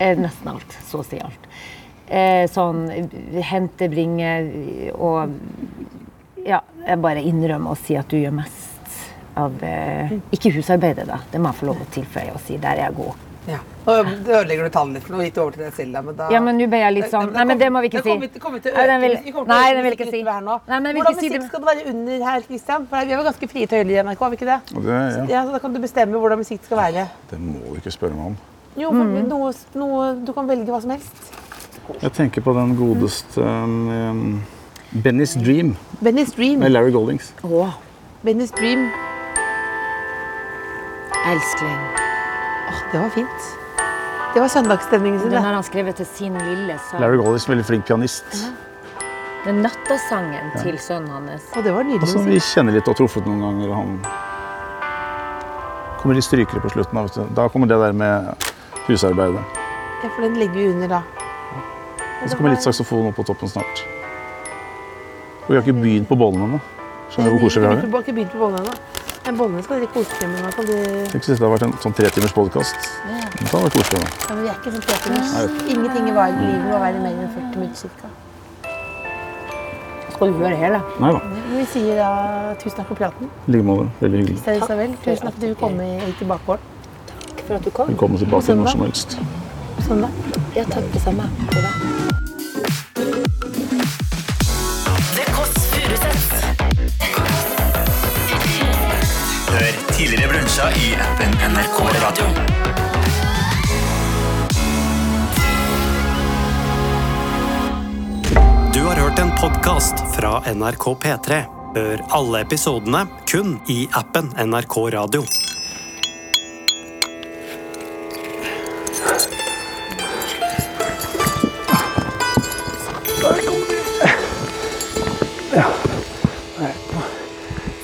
Speaker 4: eh, nesten alt. Så å si alt. Eh, sånn eh, hente, bringe og Ja, jeg bare innrømmer og sier at du gjør mest av eh,
Speaker 1: Mm.
Speaker 4: Ikke husarbeidet, da. Det må jeg få lov å tilføye og si. Der er jeg god.
Speaker 1: Ja. Nå ødelegger du tallene for noe, gitt over til deg selv, da, men da
Speaker 4: Ja, men nå ble jeg litt sånn Nei, men det må vi ikke
Speaker 1: Eh, Det
Speaker 4: si.
Speaker 1: kommer, det kommer til å
Speaker 4: Nei,
Speaker 1: øke.
Speaker 4: den vil,
Speaker 1: vi kommer til å
Speaker 4: nei,
Speaker 1: øke
Speaker 4: den vil jeg ikke
Speaker 1: litt
Speaker 4: si.
Speaker 1: hver nå.
Speaker 4: Nei, men jeg vil
Speaker 1: Hvordan
Speaker 4: ikke si det.
Speaker 1: musikk skal det være under her, Kristian? For vi var ganske frie tøyler i NRK, var vi ikke det?
Speaker 3: Og Det, ja.
Speaker 1: Ja, så Da kan du bestemme hvordan musikk skal være. Mm.
Speaker 3: det må du ikke spørre meg om.
Speaker 1: Jo, for noe, noe, du kan velge hva som helst.
Speaker 3: Jeg tenker på den godeste um, Benny's Dream
Speaker 1: Benny's Dream.
Speaker 3: med Larry Goldings.
Speaker 4: Åh,
Speaker 1: Benny's Dream.
Speaker 4: elskling.
Speaker 1: Åh, det var fint. Det var søndagsstemningen sin,
Speaker 4: Den
Speaker 1: det.
Speaker 4: har han skrevet til sin lille sønn.
Speaker 3: Larry Goldings er en veldig flink pianist.
Speaker 4: Den nattasangen til sønnen hans.
Speaker 1: Og det var nydelig
Speaker 3: Altså,
Speaker 1: musikk.
Speaker 3: vi kjenner litt og har truffet noen ganger. og Han kommer litt strykere på slutten. Da, vet du. da kommer det der med husarbeidet.
Speaker 1: Ja, for den legger vi under da.
Speaker 3: Og så kommer litt saksofon opp på toppen snart. Og vi har ikke begynt på bollen ennå. Skjønner du hvor koselig vi har det?
Speaker 1: Vi har ikke begynt på bollene ennå. Men bollene skal dere kose dere med. nå, Kan du...
Speaker 3: Tenk hvis dette hadde vært en sånn tre timers podkast. Det hadde vært koselig. da.
Speaker 1: ja, men vi er ikke sånn teaterhus. Ingenting i var- livet må være mer enn 40 minutter cirka.
Speaker 4: Skal du gjøre det hele?
Speaker 3: Nei da.
Speaker 1: Men Vi sier da tusen takk for praten.
Speaker 3: I like måte. Veldig hyggelig.
Speaker 1: Ser Isabel. Tusen takk for at du vil komme i- til bakgården
Speaker 4: For at du kom?
Speaker 3: Velkommen tilbake når som helst.
Speaker 1: på søndag.
Speaker 4: Ja, takk det samme.
Speaker 7: The Kåss Furuseths.
Speaker 8: Hør tidligere brunsja i appen NRK Radio.
Speaker 9: Du har hørt en podkast fra NRK P3. Hør alle episodene kun i appen NRK Radio.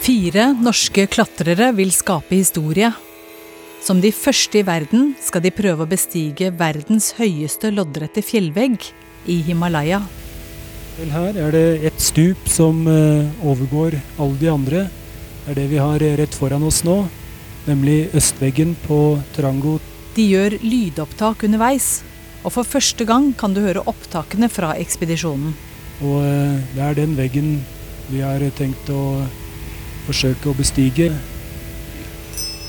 Speaker 10: Fire norske klatrere vil skape historie. Som de første i verden skal de prøve å bestige verdens høyeste loddrette fjellvegg i Himalaya.
Speaker 11: Vel, Her er det et stup som eh, overgår alle de andre. Det er det vi har eh, rett foran oss nå, nemlig østveggen på Trango
Speaker 10: De gjør lydopptak underveis, og for første gang kan du høre opptakene fra ekspedisjonen.
Speaker 11: Og eh, det er den veggen vi har eh, tenkt å forsøke å bestige.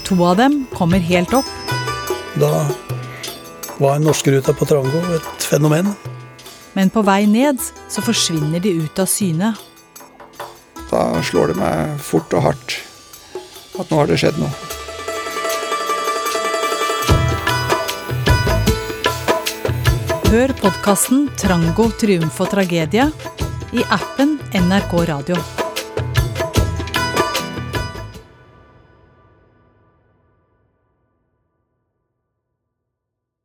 Speaker 10: To av dem kommer helt opp,
Speaker 12: Da var norskeruta på Trango et fenomen.
Speaker 10: men på vei ned så forsvinner de ut av syne.
Speaker 12: Da slår det meg fort og hardt at nå har det skjedd noe.
Speaker 10: Hør podkasten 'Trango, triumf og tragedie' i appen NRK Radio.